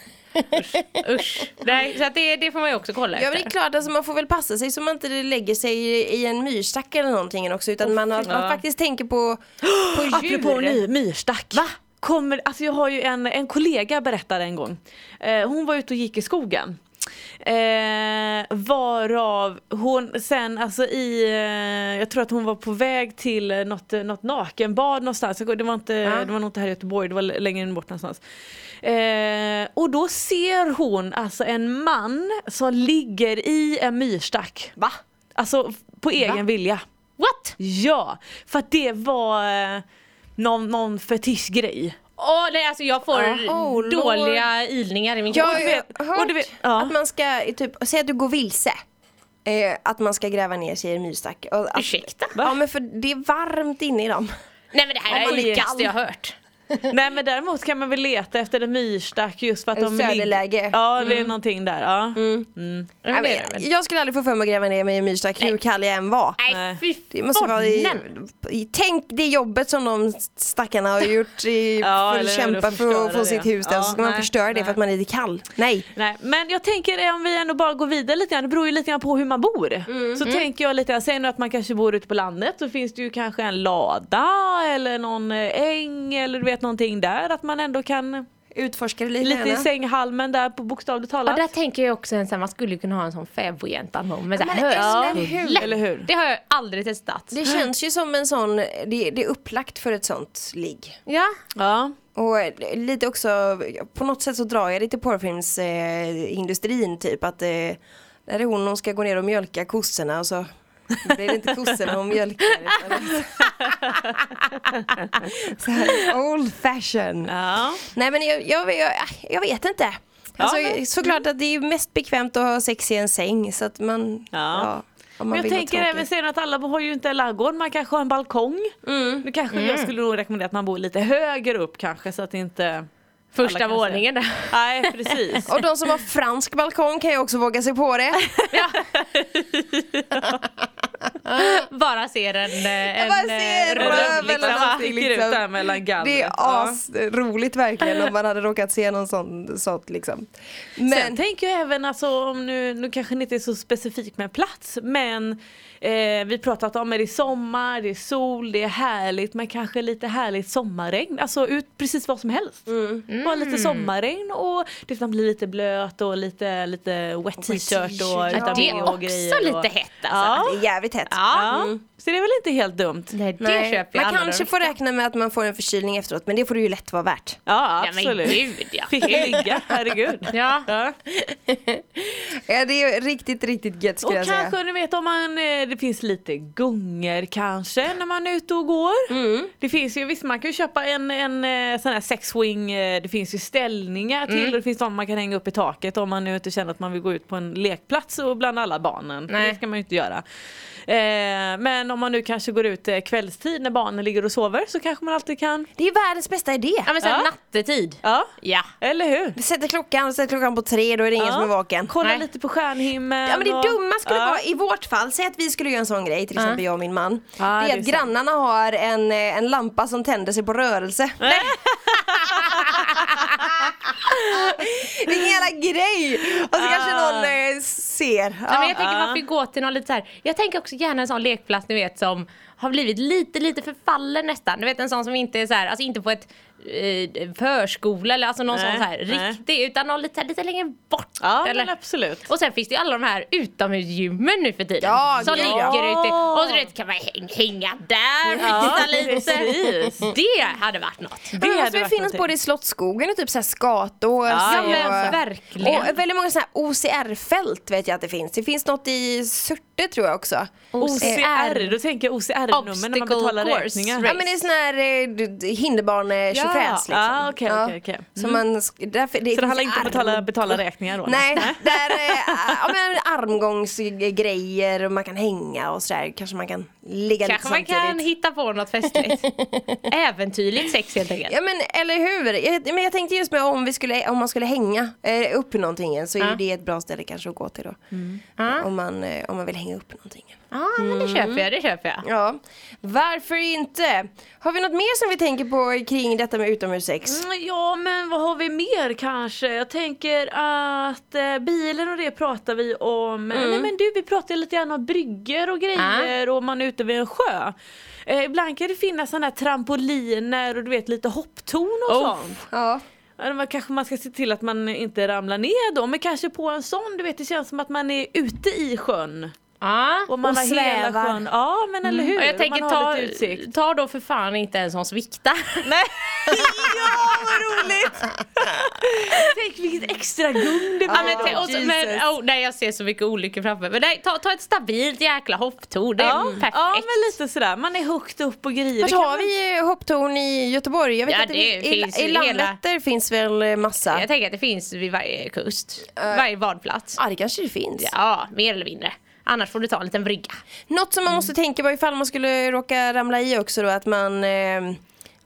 [SPEAKER 5] Usch, usch. Nej, så att det, det får man ju också kolla
[SPEAKER 4] Ja
[SPEAKER 5] efter.
[SPEAKER 4] men det är klart, alltså, man får väl passa sig så man inte lägger sig i- i en myrstack eller någonting också utan man, har, man faktiskt tänker på, på djur.
[SPEAKER 6] Apropå ny myrstack. Va? Kommer, alltså jag har ju en, en kollega berättade en gång. Eh, hon var ute och gick i skogen. Eh, varav hon sen alltså i, eh, jag tror att hon var på väg till eh, något, eh, något nakenbad någonstans. Jag- Det var, inte, det var nog inte här i Göteborg, det var l- längre bort någonstans. Eh, och då ser hon alltså en man som ligger i en myrstack. Va? Alltså f- på egen vilja.
[SPEAKER 5] What?
[SPEAKER 6] Ja, för att det var eh, någon, någon fetischgrej.
[SPEAKER 5] Åh nej alltså jag får
[SPEAKER 4] Åh, Ah, oh, Lord.
[SPEAKER 5] dåliga ilningar i min kropp.
[SPEAKER 4] Jag har
[SPEAKER 6] du
[SPEAKER 4] ju
[SPEAKER 6] vet-
[SPEAKER 4] hört
[SPEAKER 6] och du vet- ja.
[SPEAKER 4] att man ska, eh, typ, säg att du går vilse. Eh, att man ska gräva ner sig i en myrstack. Och att-
[SPEAKER 5] Ursäkta?
[SPEAKER 4] Ja men för det är varmt inne i dem.
[SPEAKER 5] Nej men det här
[SPEAKER 6] Ja,
[SPEAKER 5] är det
[SPEAKER 6] man är
[SPEAKER 5] äckligaste
[SPEAKER 6] kall.
[SPEAKER 5] jag har hört.
[SPEAKER 6] Nej men däremot kan man väl leta efter en myrstack just för att
[SPEAKER 4] En
[SPEAKER 6] de ligger-
[SPEAKER 4] söderläge. Mm.
[SPEAKER 6] Ja det är någonting där. Ja.
[SPEAKER 5] Ja,
[SPEAKER 4] Jag,
[SPEAKER 5] det är det
[SPEAKER 4] vet,
[SPEAKER 5] väl.
[SPEAKER 4] jag skulle aldrig få för mig att gräva ner mig i en myrstack hur kall jag än var.
[SPEAKER 5] Nej fy
[SPEAKER 4] Det måste vara i, i, tänk det jobbet som de stackarna har gjort i,
[SPEAKER 6] Ja,
[SPEAKER 4] för
[SPEAKER 6] eller
[SPEAKER 4] att
[SPEAKER 6] hur,
[SPEAKER 4] kämpa
[SPEAKER 6] att
[SPEAKER 4] för att
[SPEAKER 6] förstöra
[SPEAKER 4] få
[SPEAKER 6] det.
[SPEAKER 4] sitt hus där.
[SPEAKER 6] Ja,
[SPEAKER 4] så ska man
[SPEAKER 6] nej,
[SPEAKER 4] förstöra det
[SPEAKER 6] nej.
[SPEAKER 4] för att man är lite kall. Nej.
[SPEAKER 6] Nej, men jag tänker eh, om vi ändå bara går vidare lite grann, det beror ju lite grann på hur man bor.
[SPEAKER 4] Mm.
[SPEAKER 6] Så tänker jag lite grann, säg nu att man kanske bor ute på landet så finns det ju kanske en lada eller någon eh, äng eller du vet vet någonting där att man ändå kan
[SPEAKER 4] Utforskar lite,
[SPEAKER 6] lite i
[SPEAKER 4] gärna.
[SPEAKER 6] sänghalmen där på bokstavligt
[SPEAKER 5] Och
[SPEAKER 6] talat.
[SPEAKER 5] där tänker jag också en sån här, man skulle ju kunna ha en sån fäbodjänta med så här,
[SPEAKER 4] Men
[SPEAKER 5] hög-
[SPEAKER 4] eller hur?
[SPEAKER 5] Lätt.
[SPEAKER 6] Eller hur?
[SPEAKER 5] Det har jag aldrig testat.
[SPEAKER 4] Det känns ju som en sån, det, det är upplagt för ett sånt ligg.
[SPEAKER 5] Ja.
[SPEAKER 6] Ja.
[SPEAKER 4] Och eh, lite också, på något sätt så drar jag det till porrfilmsindustrin eh, industrin, typ att eh, där är hon, hon ska gå ner och mjölka kossorna och så blir det inte kossorna hon mjölkar. utan- alltså- så här, old fashion.
[SPEAKER 6] ja.
[SPEAKER 4] Nej men jag, jag, jag, jag vet inte.
[SPEAKER 6] Ja,
[SPEAKER 4] Alltså,
[SPEAKER 6] men-
[SPEAKER 4] Såklart att det är mest bekvämt att ha sex i en säng så att man,
[SPEAKER 6] Ja.
[SPEAKER 4] ja. om man
[SPEAKER 6] Men jag
[SPEAKER 4] vill ha
[SPEAKER 6] tänker
[SPEAKER 4] tråkigt.
[SPEAKER 6] även sen att alla har ju inte en ladugård, man kanske har en balkong.
[SPEAKER 4] Mm.
[SPEAKER 6] Nu kanske jag skulle nog rekommendera att man bor lite högre upp kanske så att det inte...
[SPEAKER 5] Första
[SPEAKER 6] Alla kan
[SPEAKER 5] våningen där.
[SPEAKER 6] Nej precis.
[SPEAKER 4] Och de som har fransk balkong kan ju också våga sig på det.
[SPEAKER 5] Bara ser en, eh, en
[SPEAKER 4] bara
[SPEAKER 5] eh,
[SPEAKER 4] ser
[SPEAKER 5] röd
[SPEAKER 4] röven
[SPEAKER 5] liksom.
[SPEAKER 4] eller någonting.
[SPEAKER 6] sticker ut där mellan gallret.
[SPEAKER 4] Det är
[SPEAKER 6] Ja.
[SPEAKER 4] asroligt verkligen om man hade råkat se någon sån sånt liksom.
[SPEAKER 6] Sen
[SPEAKER 4] Men
[SPEAKER 6] tänker jag även alltså om nu, nu kanske det inte är så specifikt med plats men eh, vi pratat om att det är sommar, det är sol, det är härligt men kanske lite härligt sommarregn. Alltså ut precis vad som helst.
[SPEAKER 5] Mm.
[SPEAKER 6] Bara lite sommarregn och det man blir lite blöt och lite, lite wet t-shirt och
[SPEAKER 4] t-shirt,
[SPEAKER 5] Ja,
[SPEAKER 6] vitamin
[SPEAKER 5] det är
[SPEAKER 6] och grejer.
[SPEAKER 5] också lite Mm. hett alltså.
[SPEAKER 6] Ja.
[SPEAKER 4] det är jävligt hett.
[SPEAKER 6] ja. Så det är väl inte helt dumt.
[SPEAKER 5] Nej, det
[SPEAKER 4] Nej.
[SPEAKER 5] köper jag
[SPEAKER 4] Man
[SPEAKER 5] alla
[SPEAKER 4] kanske
[SPEAKER 5] dagar.
[SPEAKER 4] får räkna med att man får en förkylning efteråt men det får det ju lätt vara värt.
[SPEAKER 6] Ja
[SPEAKER 5] Ja men
[SPEAKER 6] absolut.
[SPEAKER 5] gud ja.
[SPEAKER 6] Fick ligga, herregud.
[SPEAKER 5] Ja.
[SPEAKER 4] Ja, det är riktigt, riktigt gött
[SPEAKER 6] Och
[SPEAKER 4] skulle jag säga.
[SPEAKER 6] kanske du vet om man, eh, det finns lite gungor kanske när man är ute och går.
[SPEAKER 4] Mm.
[SPEAKER 6] Det finns ju, visst man kan ju köpa en, en eh, sån här sexwing, eh, det finns ju ställningar
[SPEAKER 4] Mm.
[SPEAKER 6] till och det finns de man kan hänga upp i taket om man nu inte känner att man vill gå ut på en lekplats och bland alla barnen. För
[SPEAKER 5] Nej.
[SPEAKER 6] Det ska man ju inte göra. Eh, men om man nu kanske går ut eh, kvällstid när barnen ligger och sover så kanske man alltid kan,
[SPEAKER 4] Det är världens bästa idé.
[SPEAKER 5] Ja men sen
[SPEAKER 6] Ja.
[SPEAKER 5] nattetid.
[SPEAKER 6] ja
[SPEAKER 5] Ja.
[SPEAKER 6] eller hur?
[SPEAKER 4] Vi sätter klockan, sätter klockan på tre, då är det ingen
[SPEAKER 6] Ja.
[SPEAKER 4] som är vaken.
[SPEAKER 6] Kolla
[SPEAKER 5] Nej.
[SPEAKER 6] lite på stjärnhimlen.
[SPEAKER 4] Ja men det
[SPEAKER 6] och-
[SPEAKER 4] dumma skulle
[SPEAKER 6] Ja.
[SPEAKER 4] vara i vårt fall, säg att vi skulle göra en sån grej, till exempel jag och min man.
[SPEAKER 6] Ja,
[SPEAKER 4] det
[SPEAKER 6] det
[SPEAKER 4] är
[SPEAKER 6] är
[SPEAKER 4] att
[SPEAKER 6] sant.
[SPEAKER 4] grannarna har en, eh, en lampa som tänder sig på rörelse. det är en jävla grej! Och så kanske någon eh, ser.
[SPEAKER 5] Ja, men
[SPEAKER 4] Ja.
[SPEAKER 5] jag tänker man får ju gå till någon lite så här. Jag tänker också gärna en sån lekplats ni vet som har blivit lite lite förfallen nästan. Du vet en sån som inte är så här, alltså inte på ett eh, förskola eller alltså någon
[SPEAKER 6] Nej,
[SPEAKER 5] sån så här
[SPEAKER 6] nej.
[SPEAKER 5] riktig utan någon lite, lite längre bort.
[SPEAKER 6] Ja
[SPEAKER 5] eller?
[SPEAKER 6] men absolut.
[SPEAKER 5] Och sen finns det ju alla de här utomhusgymmen nu för tiden.
[SPEAKER 4] Ja,
[SPEAKER 5] som
[SPEAKER 4] gud, ja.
[SPEAKER 5] ligger ute. Och så du vet, kan man häng, hänga där, fixa lite.
[SPEAKER 6] precis.
[SPEAKER 5] Det hade varit något.
[SPEAKER 4] Men
[SPEAKER 6] hade
[SPEAKER 4] det måste väl
[SPEAKER 6] varit
[SPEAKER 4] finnas
[SPEAKER 6] någonting.
[SPEAKER 4] både i Slottsskogen och typ såhär Skatås.
[SPEAKER 6] Ja,
[SPEAKER 5] men
[SPEAKER 4] och-
[SPEAKER 5] verkligen.
[SPEAKER 4] Och väldigt många sådana här OCR-fält vet jag att det finns. Det finns något i Surte tror jag också.
[SPEAKER 6] OCR, då tänker jag OCR-nummer när man
[SPEAKER 5] Obstacle
[SPEAKER 6] betalar
[SPEAKER 5] course
[SPEAKER 6] räkningar.
[SPEAKER 5] race.
[SPEAKER 4] Ja men det är sån här eh, d- d- hinderbanetjofräs
[SPEAKER 6] Ja,
[SPEAKER 4] liksom.
[SPEAKER 6] ah, okej, okej, okej.
[SPEAKER 4] Så, man, sk- därför, det
[SPEAKER 6] Så det handlar
[SPEAKER 4] finns
[SPEAKER 6] inte om att
[SPEAKER 4] arm-
[SPEAKER 6] betala, betala räkningar då?
[SPEAKER 4] Nej, där är eh, ja, men armgångsgrejer och man kan hänga och sådär. Kanske man kan ligga
[SPEAKER 5] Kanske man
[SPEAKER 4] lite
[SPEAKER 5] kan
[SPEAKER 4] samtidigt.
[SPEAKER 5] hitta på något festligt. Äventyrligt sex helt enkelt.
[SPEAKER 4] Ja men eller hur? Jag, men jag tänkte just med om, vi skulle, om man skulle hänga eh, upp någonting så är ju
[SPEAKER 5] Ja.
[SPEAKER 4] det ett bra ställe kanske att gå till då.
[SPEAKER 6] Mm.
[SPEAKER 5] Ja.
[SPEAKER 4] Om, man, eh, om man vill hänga upp någonting.
[SPEAKER 5] Ja men det köper jag, det köper jag.
[SPEAKER 4] Ja, varför inte? Har vi något mer som vi tänker på kring detta med utomhussex?
[SPEAKER 6] Mm, Ja men vad har vi mer kanske? Jag tänker att eh, bilen och det pratar vi om.
[SPEAKER 5] Mm.
[SPEAKER 6] Nej men du vi pratar lite grann om bryggor
[SPEAKER 5] Ah.
[SPEAKER 6] och grejer och man är ute vid en sjö. Eh, ibland kan det finnas sådana här trampoliner och du vet lite hopptorn och
[SPEAKER 5] Oh.
[SPEAKER 6] sånt.
[SPEAKER 4] Ja.
[SPEAKER 6] Ja, men kanske man ska se till att man inte ramlar ner då men kanske på en sån, du vet det känns som att man är ute i sjön.
[SPEAKER 5] Ja.
[SPEAKER 6] Och man
[SPEAKER 4] Och
[SPEAKER 6] har
[SPEAKER 4] svävar.
[SPEAKER 6] hela sjön. Ja men eller hur.
[SPEAKER 5] Mm. Och jag tänker
[SPEAKER 6] man har lite
[SPEAKER 5] ta,
[SPEAKER 6] utsikt.
[SPEAKER 5] ta då för fan inte en som sviktar.
[SPEAKER 6] Nej. ja vad roligt! Tänk vilket extra gung det
[SPEAKER 5] Ja, men, tänk- och så,
[SPEAKER 4] Jesus.
[SPEAKER 5] men, oh, nej, jag ser så mycket olyckor framför mig. Men Nej, ta, ta ett stabilt jäkla hopptor, det är
[SPEAKER 6] Ja,
[SPEAKER 5] perfekt.
[SPEAKER 6] ja men lite sådär, man är högt upp och grejer.
[SPEAKER 4] Fast
[SPEAKER 6] Det kan
[SPEAKER 4] har
[SPEAKER 6] man-
[SPEAKER 4] vi eh, hopptorn i Göteborg? Jag vet
[SPEAKER 5] Ja,
[SPEAKER 4] att det,
[SPEAKER 5] det
[SPEAKER 4] finns,
[SPEAKER 5] finns
[SPEAKER 4] i,
[SPEAKER 5] ju
[SPEAKER 4] i
[SPEAKER 5] hela-
[SPEAKER 4] Landvetter finns väl eh, massa?
[SPEAKER 5] Jag tänker att det finns vid varje kust,
[SPEAKER 6] Äh.
[SPEAKER 5] varje badplats.
[SPEAKER 4] Ja det kanske det finns.
[SPEAKER 5] Ja, mer eller mindre. Annars får du ta en liten brygga.
[SPEAKER 4] Något som man
[SPEAKER 5] Mm.
[SPEAKER 4] måste tänka på ifall man skulle råka ramla i också då att man, eh,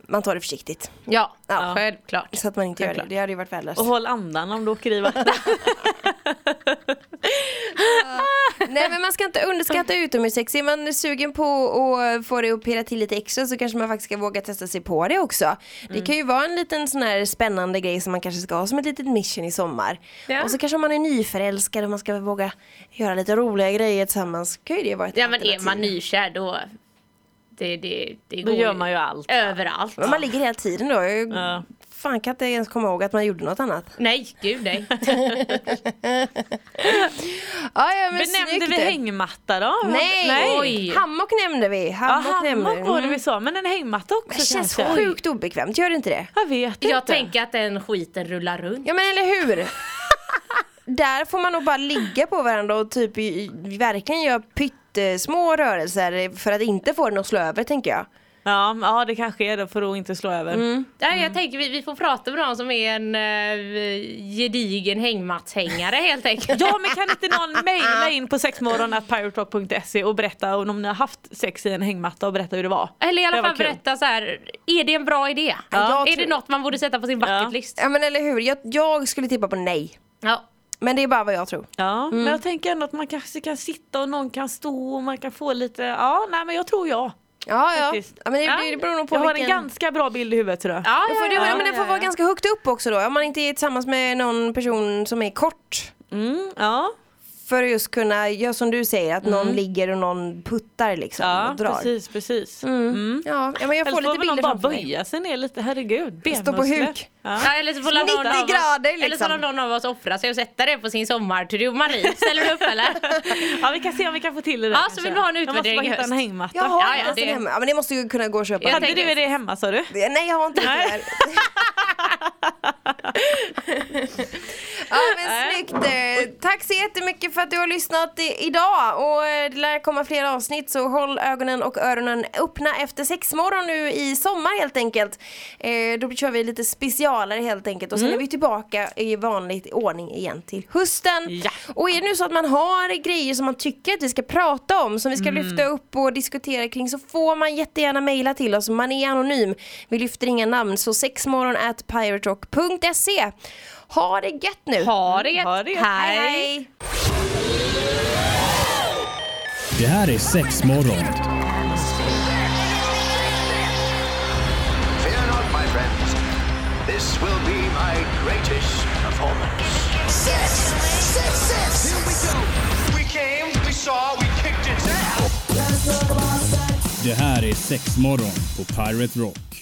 [SPEAKER 4] man tar det försiktigt.
[SPEAKER 5] Ja,
[SPEAKER 4] Ja.
[SPEAKER 5] självklart.
[SPEAKER 4] Så att man inte gör det.
[SPEAKER 5] Självklart.
[SPEAKER 4] Det hade ju varit värdelöst.
[SPEAKER 6] Och håll andan om du åker i vatten.
[SPEAKER 4] Nej men man ska inte underskatta utomhussex. Är man sugen på att få det att pirra till lite extra så kanske man faktiskt ska våga testa sig på det också.
[SPEAKER 6] Mm.
[SPEAKER 4] Det kan ju vara en liten sån här spännande grej som man kanske ska ha som ett litet mission i sommar.
[SPEAKER 5] Ja.
[SPEAKER 4] Och så kanske man är nyförälskad och man ska våga göra lite roliga grejer tillsammans. Kan ju det vara ett
[SPEAKER 5] Ja men är
[SPEAKER 4] alternativ.
[SPEAKER 5] man nykär då Det, det, det
[SPEAKER 6] Då
[SPEAKER 5] går
[SPEAKER 6] gör man ju allt.
[SPEAKER 5] Överallt.
[SPEAKER 4] Men man ligger hela tiden då. Jag
[SPEAKER 6] Ja.
[SPEAKER 4] fan kan inte ens komma ihåg att man gjorde något annat.
[SPEAKER 5] Nej, gud nej.
[SPEAKER 4] Ja, ja, men
[SPEAKER 6] Benämnde
[SPEAKER 4] snyggt.
[SPEAKER 6] vi hängmatta då?
[SPEAKER 4] Nej.
[SPEAKER 5] Oj.
[SPEAKER 4] hammock nämnde vi.
[SPEAKER 6] Ja,
[SPEAKER 4] Hammock nämnde vi.
[SPEAKER 6] hammock var det
[SPEAKER 4] Mm.
[SPEAKER 6] vi sa, men en hängmatta också
[SPEAKER 4] Det känns
[SPEAKER 6] kanske.
[SPEAKER 4] sjukt obekvämt, gör det inte det?
[SPEAKER 6] Jag vet
[SPEAKER 5] Jag
[SPEAKER 6] inte.
[SPEAKER 5] tänker att den skiten rullar runt.
[SPEAKER 4] Ja men eller hur? Där får man nog bara ligga på varandra och typ i- i- verkligen göra pyttesmå rörelser för att inte få den att slå över tänker jag.
[SPEAKER 6] Ja, ja det kanske är det för att inte slå över.
[SPEAKER 5] Ja, jag tänker vi, vi får prata med någon som är en uh, gedigen hängmattshängare helt enkelt.
[SPEAKER 6] Ja men kan inte någon mejla in på sexmorgon.piraterock.se och berätta om ni har haft sex i en hängmatta och berätta hur det var.
[SPEAKER 5] Eller i alla
[SPEAKER 6] Det var
[SPEAKER 5] fall
[SPEAKER 6] kul.
[SPEAKER 5] berätta så här, är det en bra idé?
[SPEAKER 4] Ja, jag
[SPEAKER 5] är det
[SPEAKER 4] tror-
[SPEAKER 5] något man borde sätta på sin
[SPEAKER 6] Ja.
[SPEAKER 5] bucket list?
[SPEAKER 4] Ja men eller hur, jag, jag skulle tippa på nej.
[SPEAKER 5] Ja.
[SPEAKER 4] Men det är bara vad jag tror.
[SPEAKER 6] Ja, men
[SPEAKER 5] Mm.
[SPEAKER 6] jag tänker ändå att man kanske kan sitta och någon kan stå och man kan få lite, ja nej men jag tror jag.
[SPEAKER 4] Ja ja, ja
[SPEAKER 6] Faktiskt.
[SPEAKER 4] men det, det beror nog på
[SPEAKER 6] jag har
[SPEAKER 4] vilken...
[SPEAKER 6] en ganska bra bild i huvudet tror jag.
[SPEAKER 5] Ja,
[SPEAKER 4] Ja,
[SPEAKER 5] ja,
[SPEAKER 4] för det,
[SPEAKER 5] ja.
[SPEAKER 4] men det får vara ganska högt upp också då, om man inte är tillsammans med någon person som är kort.
[SPEAKER 6] Mm, ja,
[SPEAKER 4] För att just kunna, ja, som du säger, att någon ligger och någon puttar liksom
[SPEAKER 6] ja
[SPEAKER 4] och drar.
[SPEAKER 6] precis precis.
[SPEAKER 4] Mm. Ja, ja, men jag får lite
[SPEAKER 6] Eller får väl någon
[SPEAKER 4] bilder
[SPEAKER 6] bara
[SPEAKER 4] framför mig.
[SPEAKER 6] böja sig ner lite, herregud.
[SPEAKER 4] Stå på
[SPEAKER 6] benmuskler.
[SPEAKER 4] huk.
[SPEAKER 6] Ja.
[SPEAKER 5] Ja, eller så får
[SPEAKER 4] 90
[SPEAKER 5] någon av oss-
[SPEAKER 4] grader,
[SPEAKER 5] Eller så
[SPEAKER 4] liksom.
[SPEAKER 5] får någon av oss offra sig och sätta det på sin sommartro. Marie, ställer du upp eller?
[SPEAKER 6] ja vi kan se om vi kan få till det där
[SPEAKER 5] Ja, så
[SPEAKER 6] kanske.
[SPEAKER 5] vill vi ha en utvärdering
[SPEAKER 6] Jag måste bara
[SPEAKER 5] i
[SPEAKER 6] hitta en
[SPEAKER 5] höst.
[SPEAKER 6] hängmatta.
[SPEAKER 4] Jag har
[SPEAKER 5] Ja, ja,
[SPEAKER 4] inte det...
[SPEAKER 5] det-
[SPEAKER 4] hemma. Ja, men det måste ju kunna gå att köpa.
[SPEAKER 5] Jag
[SPEAKER 4] på
[SPEAKER 6] Hade
[SPEAKER 5] tänker-
[SPEAKER 6] du det hemma sa du?
[SPEAKER 4] Det- Nej jag har inte det tyvärr. ja men snyggt. Eh, Tack så jättemycket för att du har lyssnat i- idag och eh, det lär komma fler avsnitt så håll ögonen och öronen öppna efter sexmorgon nu i sommar helt enkelt. Eh, Då kör vi lite specialare helt enkelt och sen är vi tillbaka i vanlig ordning igen till hösten.
[SPEAKER 6] Ja.
[SPEAKER 4] Och är det nu så att man har grejer som man tycker att vi ska prata om, som vi ska lyfta upp och diskutera kring så får man jättegärna mejla till oss. Man är anonym. Vi lyfter inga namn. Så sexmorgon at piraterock.se. Ha det gött nu!
[SPEAKER 5] Ha det,
[SPEAKER 6] Ha det gött.
[SPEAKER 5] Hej.
[SPEAKER 1] Det här är sex morgon.
[SPEAKER 2] Fear not, my friends. This will be my greatest performance.
[SPEAKER 3] Six, six, six.
[SPEAKER 2] We came, we saw, we kicked its ass.
[SPEAKER 1] Det här är sex morgon på Pirate Rock.